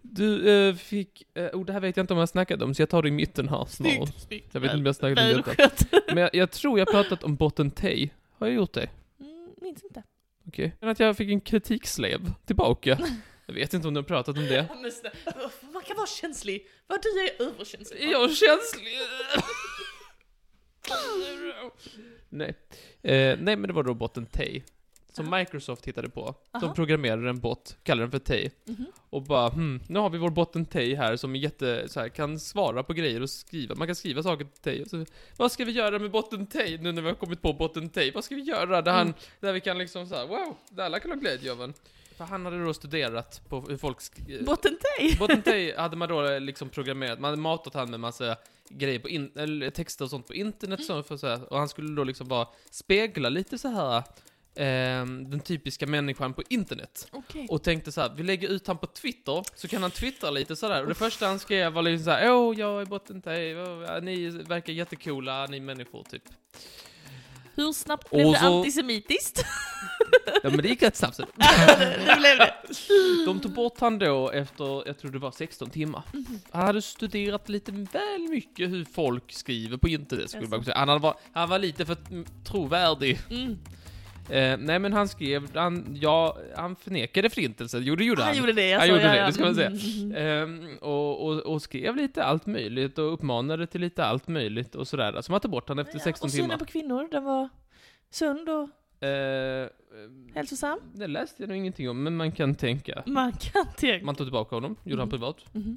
Speaker 2: Du eh, fick... eh, oh, det här vet jag inte om jag snackade om, så jag tar det i mitten här snart.
Speaker 1: Snyggt, snyggt.
Speaker 2: Jag vet inte om jag snackade om detta.
Speaker 1: Välskött.
Speaker 2: Men jag, jag tror jag pratat om bottentej. Har jag gjort det?
Speaker 1: Mm, Minns inte.
Speaker 2: Okej. Men att jag fick en kritikslev tillbaka. Jag vet inte om du har pratat om det.
Speaker 1: Ja, men snä- Man kan vara känslig. Vad du är överkänslig.
Speaker 2: Jag är känslig. nej. Eh, nej, men det var då botten Tay. Som
Speaker 1: Aha.
Speaker 2: Microsoft hittade på. De
Speaker 1: Aha.
Speaker 2: programmerade en bot, kallade den för Tay.
Speaker 1: Mhm.
Speaker 2: Och bara, hmm, nu har vi vår botten Tay här som är jätte, så här, kan svara på grejer och skriva. Man kan skriva saker till Tay. Och så, Vad ska vi göra med botten Tay nu när vi har kommit på botten Tay? Vad ska vi göra där, han,
Speaker 1: Mm.
Speaker 2: där vi kan liksom så här, wow, där alla kan ha glädje av en. För han hade då studerat på hur folk sk-
Speaker 1: Bottentej.
Speaker 2: Bottentej hade man då liksom programmerat, man hade matat han med massa grejer på in, eller texter och sånt på internet så för så här, och han skulle då liksom bara spegla lite så här ehm, den typiska människan på internet.
Speaker 1: Okej.
Speaker 2: Och tänkte så här, vi lägger ut han på Twitter, så kan han twittra lite sådär. Och det första han skrev var liksom såhär, åh jag är bottentej, åh, ni verkar jättecoola, ni människor typ.
Speaker 1: Hur snabbt blev
Speaker 2: Och
Speaker 1: det
Speaker 2: så-
Speaker 1: antisemitiskt? [LAUGHS]
Speaker 2: Ja men det gick rätt snabbt.
Speaker 1: det blev det.
Speaker 2: De tog bort han då efter, jag tror det var 16 timmar. Han hade studerat lite väl mycket hur folk skriver på internet skulle
Speaker 1: Jaså.
Speaker 2: man kunna säga. Han, hade var, han var lite för mm, trovärdig.
Speaker 1: Mm.
Speaker 2: Eh, nej men han skrev, han, ja, han förnekade förintelsen, jo det gjorde han.
Speaker 1: Han gjorde det, jag
Speaker 2: Han
Speaker 1: sa,
Speaker 2: gjorde
Speaker 1: ja,
Speaker 2: det,
Speaker 1: ja.
Speaker 2: det ska man säga.
Speaker 1: Mm.
Speaker 2: Ehm, och, och, och skrev lite allt möjligt och uppmanade till lite allt möjligt och sådär. Så alltså, man tog bort han efter 16
Speaker 1: och synen
Speaker 2: timmar.
Speaker 1: på kvinnor, den var sund och
Speaker 2: Eh, eh,
Speaker 1: hälsosam.
Speaker 2: det läste jag nog ingenting om, men man kan tänka.
Speaker 1: Man kan tänka.
Speaker 2: Man tog tillbaka honom, gjorde han
Speaker 1: Mhm.
Speaker 2: privat,
Speaker 1: Mhm,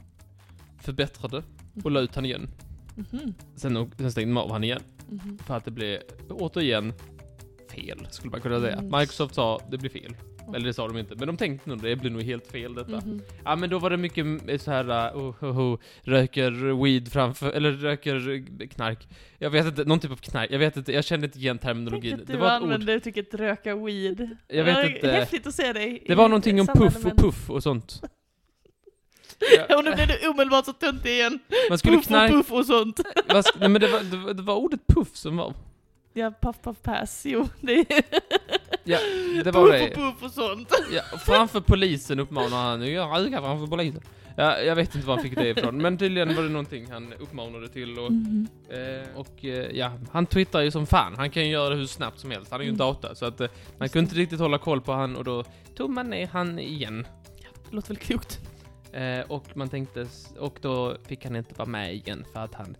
Speaker 2: förbättrade och la ut han igen.
Speaker 1: mhm,
Speaker 2: Sen, sen stängde man av han igen.
Speaker 1: mhm.
Speaker 2: För att det blev, återigen, fel skulle man kunna säga.
Speaker 1: Mm.
Speaker 2: Microsoft sa, det blir fel. Eller det sa de inte, men de tänkte nog det blir nog helt fel detta.
Speaker 1: Mhm.
Speaker 2: Ja men då var det mycket eh, så här, eh, oh, oh, oh, röker weed framför, eller röker eh, knark. Jag vet inte, någon typ av knark, jag vet inte, jag kände inte igen
Speaker 1: Tänk
Speaker 2: terminologin.
Speaker 1: att
Speaker 2: Det
Speaker 1: du
Speaker 2: var ett ord.
Speaker 1: använde uttrycket röka weed.
Speaker 2: Jag vet
Speaker 1: Det var
Speaker 2: inte.
Speaker 1: Häftigt att se dig.
Speaker 2: Det
Speaker 1: i
Speaker 2: var någonting om
Speaker 1: sammanhang
Speaker 2: puff
Speaker 1: med-
Speaker 2: och puff
Speaker 1: [LAUGHS]
Speaker 2: och sånt. Ja,
Speaker 1: Och nu blev du omedelbart så töntig igen.
Speaker 2: man skulle
Speaker 1: Puff och
Speaker 2: knarka,
Speaker 1: puff och sånt.
Speaker 2: nej men det var, det, var, det var ordet puff som var.
Speaker 1: Ja, puff puff pass, jo. Det är
Speaker 2: Ja, det var
Speaker 1: puff
Speaker 2: det.
Speaker 1: och puff och sånt.
Speaker 2: Ja, framför polisen uppmanar han nu jag röka framför polisen. Ja, jag vet inte var han fick det ifrån, men tydligen var det någonting han uppmanade till och,
Speaker 1: Mhm.
Speaker 2: eh, och eh, ja, han twittrar ju som fan. Han kan ju göra det hur snabbt som helst. Han är ju en
Speaker 1: Mm.
Speaker 2: data, så att eh, man kunde inte riktigt hålla koll på han och då tog man ner han igen.
Speaker 1: Det låter väl klokt.
Speaker 2: Eh, och man tänkte, s- och då fick han inte vara med igen för att han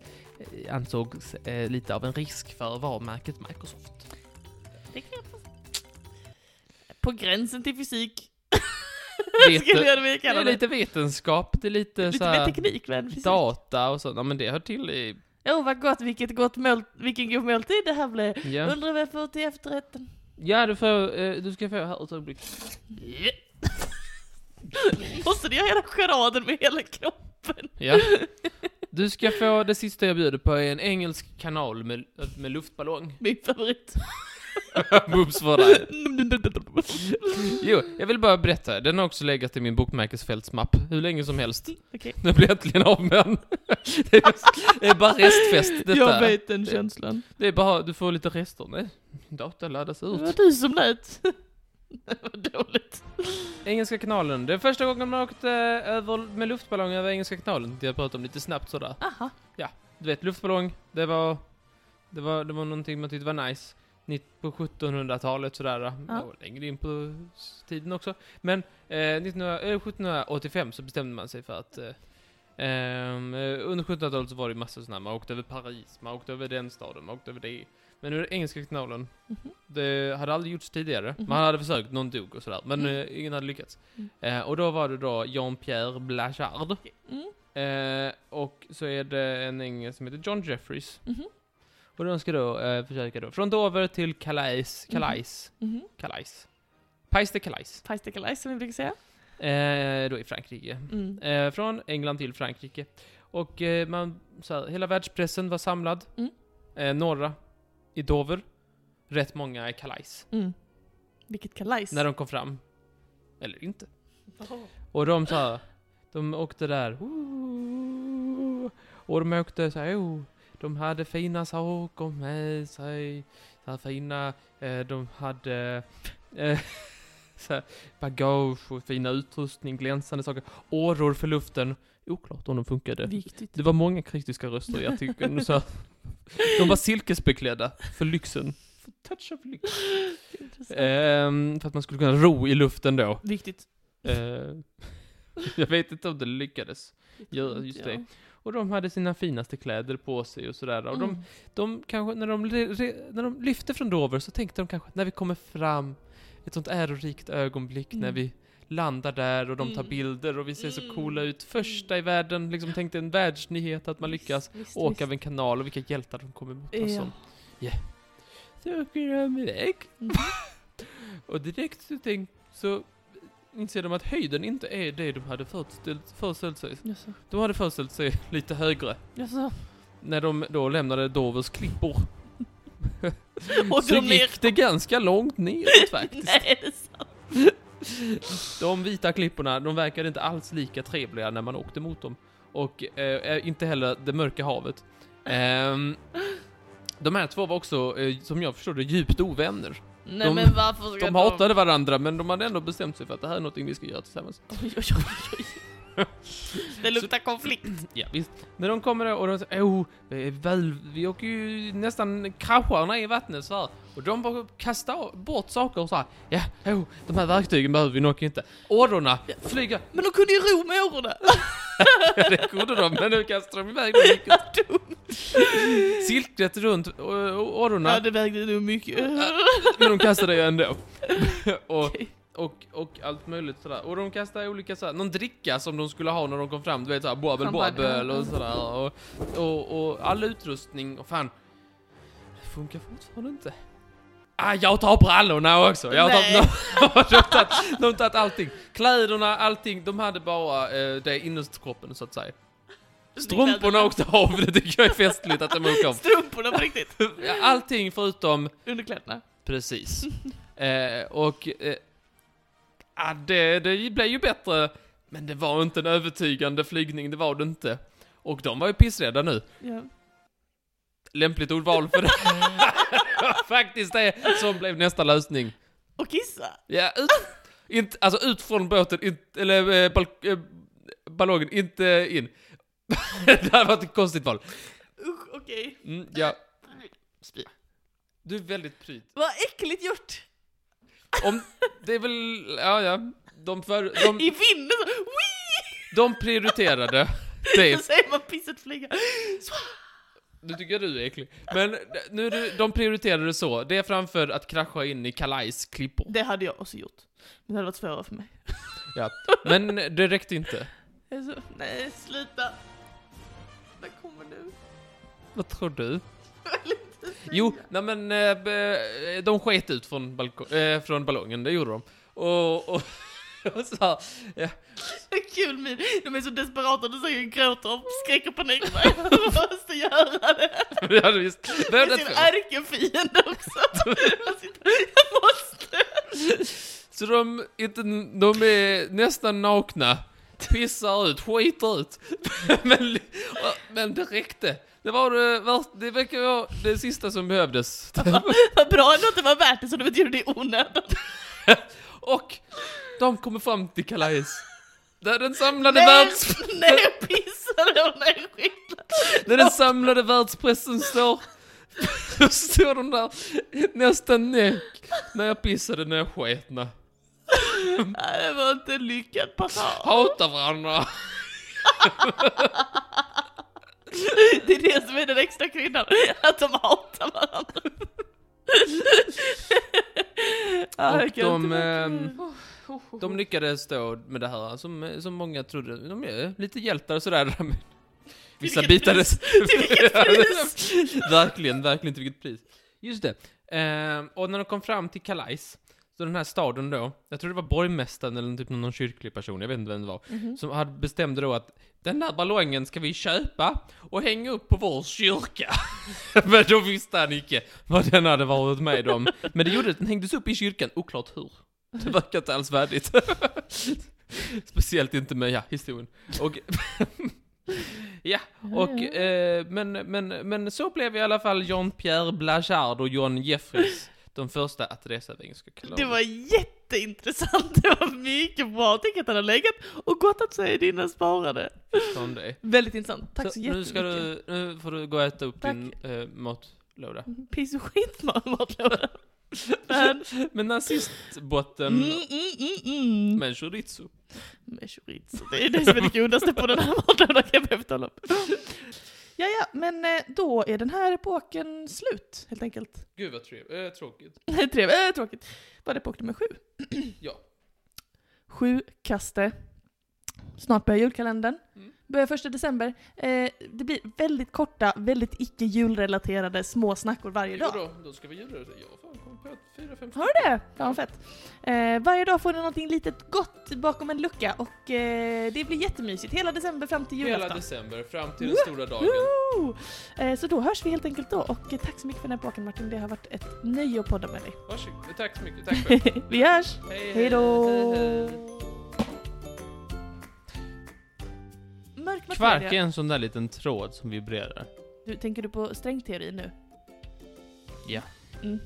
Speaker 2: eh, ansågs eh, lite av en risk för varumärket Microsoft.
Speaker 1: Det kan jag passa. På gränsen till fysik. [LAUGHS]
Speaker 2: Vet-
Speaker 1: Skulle jag vilja
Speaker 2: Det
Speaker 1: kalla
Speaker 2: är
Speaker 1: det.
Speaker 2: lite vetenskap, det är lite,
Speaker 1: lite
Speaker 2: så
Speaker 1: mer
Speaker 2: här,
Speaker 1: teknik men fysik. Åh
Speaker 2: data och sånt. Ja, men det hör till i...
Speaker 1: vad gott, vilket gott mål, vilken god måltid det här blev.
Speaker 2: Ja.
Speaker 1: Undrar vad jag får till efterrätten.
Speaker 2: Ja, du, får, eh, du ska få här ett ögonblick.
Speaker 1: [LAUGHS] Måste du göra hela charaden med hela kroppen? [LAUGHS]
Speaker 2: Ja. Du ska få, det sista jag bjuder på är en engelsk kanal med, med luftballong.
Speaker 1: Min
Speaker 2: [LAUGHS]
Speaker 1: favorit.
Speaker 2: Boobs för dig. Jo, jag vill bara berätta, den har också legat i min bokmärkesfältsmapp hur länge som helst.
Speaker 1: [LAUGHS] Okej.
Speaker 2: Nu blir jag äntligen av med den. [LAUGHS] Det är, det är bara restfest
Speaker 1: Jag
Speaker 2: detta.
Speaker 1: vet den känslan.
Speaker 2: Det är bara, du får lite rester. Nej, min data laddas
Speaker 1: Det var
Speaker 2: ut.
Speaker 1: du som lät. [LAUGHS] Vad dåligt.
Speaker 2: Engelska kanalen, det är första gången man åkt eh, över, med luftballong över Engelska kanalen. Det jag pratade om lite snabbt sådär.
Speaker 1: Aha.
Speaker 2: du vet, luftballong, det var, det var, det var någonting man tyckte var nice. nitt- på 1700-talet sådär.
Speaker 1: Ja.
Speaker 2: Och längre in på s- tiden också. Men eh, 1900, eh, 1785 så bestämde man sig för att eh, ehm, eh, under 1700-talet så var det ju massa sådana, man åkte över Paris, man åkte över den staden, man åkte över det. Men under engelska kanalen,
Speaker 1: Mhm.
Speaker 2: det hade aldrig gjorts tidigare.
Speaker 1: Mhm.
Speaker 2: Man hade försökt, någon dog och sådär, men
Speaker 1: Mm.
Speaker 2: eh, ingen hade lyckats.
Speaker 1: Mm.
Speaker 2: Eh, och då var det då Jean-Pierre Blachard.
Speaker 1: Mm.
Speaker 2: Eh, och så är det en engelsk som heter John Jeffries.
Speaker 1: Mhm.
Speaker 2: Och de ska då eh, försöka då, från Dover till Calais, Calais,
Speaker 1: Mhm.
Speaker 2: Calais. Pais de Calais.
Speaker 1: Pajs de Calais som vi brukar säga.
Speaker 2: Eh, då i Frankrike.
Speaker 1: Mm.
Speaker 2: Eh, från England till Frankrike. Och eh, man, så här, hela världspressen var samlad.
Speaker 1: Mm.
Speaker 2: Eh, några i Dover. Rätt många i Calais.
Speaker 1: Mm. Vilket kalajs.
Speaker 2: När de kom fram. Eller inte.
Speaker 1: Åh.
Speaker 2: Och de så här, de åkte där. Och de åkte så här, oh, de hade fina saker med sig. Så här fina, eh, de hade eh, [LAUGHS] så här, bagage och fina utrustning, glänsande saker. Åror för luften. Oklart om de funkade.
Speaker 1: Viktigt.
Speaker 2: Det var många kritiska röster i artikeln. och Så här, de var silkesbeklädda för lyxen. För touch of lyx.
Speaker 1: Intressant.
Speaker 2: Ehm, för att man skulle kunna ro i luften då.
Speaker 1: Viktigt.
Speaker 2: Eh, [LAUGHS] jag vet inte om det lyckades. Ja,
Speaker 1: Viktigt,
Speaker 2: just det. Och de hade sina finaste kläder på sig och sådär. Och de,
Speaker 1: Mm.
Speaker 2: de kanske, när de, re- re- när de lyfte från Dover så tänkte de kanske, när vi kommer fram, ett sånt ärorikt ögonblick när
Speaker 1: Mm.
Speaker 2: vi landar där och de tar
Speaker 1: Mm.
Speaker 2: bilder och vi ser så
Speaker 1: Mm.
Speaker 2: coola ut. Första i världen, liksom tänkte en världsnyhet att man lyckas
Speaker 1: Visst, visst,
Speaker 2: åka
Speaker 1: visst.
Speaker 2: över en kanal och vilka hjältar de kommer mot oss
Speaker 1: Ja.
Speaker 2: som. Yeah. Så åker de iväg.
Speaker 1: Mm.
Speaker 2: [LAUGHS] Och direkt så, tänk, så inser de att höjden inte är det de hade föreställt, föreställt sig.
Speaker 1: Jaså.
Speaker 2: De hade föreställt sig lite högre.
Speaker 1: Jaså.
Speaker 2: När de då lämnade Dovers klippor
Speaker 1: Och
Speaker 2: så
Speaker 1: de ner.
Speaker 2: gick det ganska
Speaker 1: [LAUGHS]
Speaker 2: långt neråt faktiskt.
Speaker 1: Nej, det är sant.
Speaker 2: De vita klipporna, de verkade inte alls lika trevliga när man åkte mot dem. Och eh, inte heller det mörka havet. Ehm, de här två var också, eh, som jag förstod det, djupt ovänner.
Speaker 1: Nej
Speaker 2: De-
Speaker 1: men varför ska
Speaker 2: De hatade varandra, men de hade ändå bestämt sig för att det här är någonting vi ska göra tillsammans.
Speaker 1: Oj, oj, oj, oj. Det luktar konflikt.
Speaker 2: Ja, visst. När de kommer och de säger oh, vi, är väl, vi åker ju nästan kraschar ner i vattnet så här. Och de bara kastar av- bort saker och så här. Ja, oh, de här verktygen behöver vi nog inte. Ådrorna flyger. [LAUGHS]
Speaker 1: Men de kunde ju ro med årorna.
Speaker 2: Ja, det kunde de, men nu kastar de iväg dem.
Speaker 1: [LAUGHS]
Speaker 2: vilket- Silket runt eh, ådrorna,
Speaker 1: Ja det vägde nog mycket.
Speaker 2: men de kastar det
Speaker 1: [LAUGHS]
Speaker 2: ju ändå. och,
Speaker 1: Okej.
Speaker 2: och, och allt möjligt sådär. Och de kastar olika såhär, någon dricka som de skulle ha när de kom fram, du vet såhär boabel
Speaker 1: Champagne.
Speaker 2: boabel och sådär. Och, och, och all utrustning, och fan. Det funkar fortfarande inte. Ah, jag tar brallorna också! [LAUGHS] Jag tar,
Speaker 1: Nej.
Speaker 2: de, de, har tagit, de har tagit allting. Kläderna, allting. De hade bara eh, det innerskroppen så att säga. Strumporna åkte av, [LAUGHS] det tycker jag är festligt att de
Speaker 1: [LAUGHS]
Speaker 2: åker av.
Speaker 1: Strumporna på riktigt.
Speaker 2: Ja, Allting förutom
Speaker 1: Underkläderna.
Speaker 2: precis. Eh, och eh, ah, det, det blev ju bättre, men det var inte en övertygande flygning, det var det inte. Och de var ju pissrädda nu.
Speaker 1: Ja.
Speaker 2: Lämpligt ordval för det [LAUGHS] var faktiskt det som blev nästa lösning.
Speaker 1: Och kissa.
Speaker 2: Ja, ut, inte, alltså ut från båten, inte, eller eh, bal, eh, ballongen, inte in. [LAUGHS] det hade varit ett konstigt val.
Speaker 1: Usch okej.
Speaker 2: Mm, ja. Du är väldigt pryd.
Speaker 1: Vad äckligt gjort.
Speaker 2: Om, det är väl, ja ja. De, för, de,
Speaker 1: I vinden så. Wii!
Speaker 2: de prioriterade
Speaker 1: [LAUGHS] Så
Speaker 2: det.
Speaker 1: säger man pisset flyga. Så.
Speaker 2: Nu tycker jag du är äcklig. Men nu, är du- de prioriterade det så. Det är framför att krascha in i Calais klippor.
Speaker 1: Det hade jag också gjort. Men det hade varit svårare för mig.
Speaker 2: Ja. Men det räckte inte.
Speaker 1: Jag är Så, nej sluta. Vad kommer nu?
Speaker 2: Vad tror du?
Speaker 1: Jag vill inte säga.
Speaker 2: Jo, nej men eh, be- de sket ut från, balkon, eh, från ballongen, det gjorde de. Och, [LAUGHS] och, och så här, ja.
Speaker 1: Kul min. De är så desperata, de säger gråter av skräck och panik. [LAUGHS] Jag måste göra det.
Speaker 2: Ja, visst. Det var
Speaker 1: Det är sin
Speaker 2: rätt-
Speaker 1: ärkefiende också. Jag sitter- Jag måste.
Speaker 2: Så de, inte, de är nästan nakna, pissar ut, skiter ut. [LAUGHS] men, men det räckte. Det var det, värt- det verkar vara det sista som behövdes.
Speaker 1: Vad bra ändå att det var värt det så det betyder det är onödigt.
Speaker 2: Och de kommer fram till Calais. Där den samlade,
Speaker 1: Nej,
Speaker 2: världs,
Speaker 1: nej jag pissade och nej skit.
Speaker 2: där den samlade världspressen står. Så står hon där nästan näck när jag pissade när jag sket när.
Speaker 1: Nej, det var inte en lyckad passage.
Speaker 2: Hatar varandra.
Speaker 1: Det är det som är den extra kryddan, att de hatar varandra. Ja, jag
Speaker 2: Och
Speaker 1: kan
Speaker 2: de,
Speaker 1: inte
Speaker 2: ehm,
Speaker 1: låta-
Speaker 2: de lyckades då med det här som, som många trodde. De är lite hjältar och sådär. men Vissa
Speaker 1: vilket
Speaker 2: bitades.
Speaker 1: Till vilket pris?
Speaker 2: [LAUGHS] verkligen, verkligen till vilket pris. Just det. Ehm, och när de kom fram till Calais, så den här staden då, jag tror det var borgmästaren eller typ någon kyrklig person, jag vet inte vem det var, som hade bestämde då att den där ballongen ska vi köpa och hänga upp på vår kyrka. [LAUGHS] Men då visste han icke vad den hade varit med om. Men det gjorde att den hängdes upp i kyrkan, oklart hur. Det verkar inte alls värdigt. [LAUGHS] Speciellt inte med, ja, historien. Och ja, och, eh, men, men, men så blev i alla fall Jean-Pierre Blachard och John Jeffries de första att resa över Engelska
Speaker 1: Det
Speaker 2: kanalen.
Speaker 1: var jätteintressant, det var mycket bra. Tänk att han har legat och gottat sig i dina sparade.
Speaker 2: Från det.
Speaker 1: Väldigt intressant, tack så,
Speaker 2: nu,
Speaker 1: jättemycket.
Speaker 2: ska du, nu får du gå och äta upp
Speaker 1: Tack.
Speaker 2: din eh, matlåda.
Speaker 1: Piss och skit matlåda. Men,
Speaker 2: Men nazistbotten,
Speaker 1: mm, mm, mm, mm.
Speaker 2: men chorizo.
Speaker 1: med chorizo. Det är det som är det godaste på den här matlådan kan jag behöva tala om. Ja, ja, men eh, då är den här epoken slut, helt enkelt. [LAUGHS]
Speaker 2: Gud vad trev- eh, tråkigt.
Speaker 1: Trevligt, äh, tråkigt. Var det epok nummer sju? [CLEARS THROAT]
Speaker 2: Ja.
Speaker 1: Sju kaste. Snart börjar julkalendern.
Speaker 2: Mm.
Speaker 1: Börjar första december. Eh, det blir väldigt korta, väldigt icke julrelaterade små snackor varje dag.
Speaker 2: Jo då, då ska vi göra det. Jag har fan kommit på fyra, fem
Speaker 1: Har du det? Fan vad fett. Eh, varje dag får ni någonting litet gott bakom en lucka och eh, det blir jättemysigt. Hela december fram till julafton.
Speaker 2: Hela december fram till den stora dagen.
Speaker 1: Woo! Eh, Så då hörs vi helt enkelt då och eh, tack så mycket för den här boken Martin, det har varit ett nöje att podda med dig.
Speaker 2: Varsågod. Eh, Tack så mycket. Tack själv.
Speaker 1: [LAUGHS] vi hörs!
Speaker 2: Hej,
Speaker 1: Hej då!
Speaker 2: hej, hej.
Speaker 1: Mörk materia.
Speaker 2: Kvark är en sån där liten tråd som vibrerar.
Speaker 1: Du, tänker du på sträng teori nu?
Speaker 2: Ja.
Speaker 1: Mm.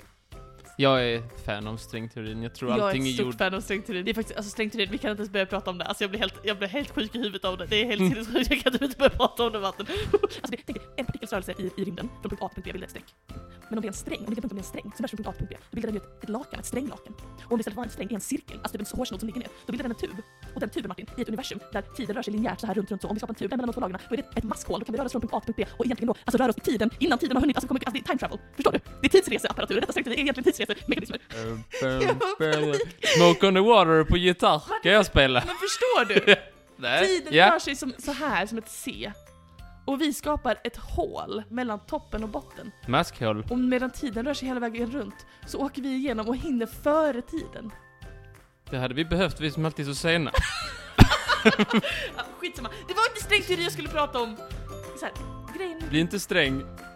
Speaker 2: Jag är fan av strängteorin. Jag tror
Speaker 1: jag är
Speaker 2: allting är
Speaker 1: ett stort
Speaker 2: gjort...
Speaker 1: fan av sträng teori. Det är faktiskt, alltså sträng teori, vi kan inte ens börja prata om det. Alltså jag blir helt, jag blir helt sjuk i huvudet av det. Det är helt sinnessjukt, jag kan typ inte börja prata om det Martin. Alltså det, tänk dig, en partikels rörelse i, i rymden från punkt A till punkt B bildar ett streck. Men om det är en sträng, om det inte är en sträng som bärs från punkt A till punkt B, då bildar den ju ett, ett lakan, ett stränglakan. Och om det istället var en sträng, är en cirkel, alltså typ en hårsnodd som ligger ner, då bildar den en tub. Och den tuben Martin, i ett universum där tiden rör sig linjärt så här runt, runt så. Om vi skapar en tub där mellan de två lagren, då är det ett maskhål. Då kan vi röra oss från punkt A till punkt B och egentligen då alltså röra oss i tiden innan tiden har hunnit, alltså, kommer, alltså det är time travel. Förstår du? Det är tidsreseapparatur, detta sträng är egentligen tidsresemekanismer. [LAUGHS]
Speaker 2: Smoke on the water på gitarr. Kan jag spela?
Speaker 1: Men förstår du?
Speaker 2: Nej.
Speaker 1: Tiden rör
Speaker 2: Eh, Ja.
Speaker 1: sig som, så här, som ett C. Och vi skapar ett hål mellan toppen och botten.
Speaker 2: Maskhål.
Speaker 1: Och medan tiden rör sig hela vägen runt så åker vi igenom och hinner före tiden.
Speaker 2: Det hade vi behövt, vi som alltid är så sena.
Speaker 1: Ah, skitsamma, det var inte sträng teori jag skulle prata om. Så här, grejen
Speaker 2: Bli inte sträng.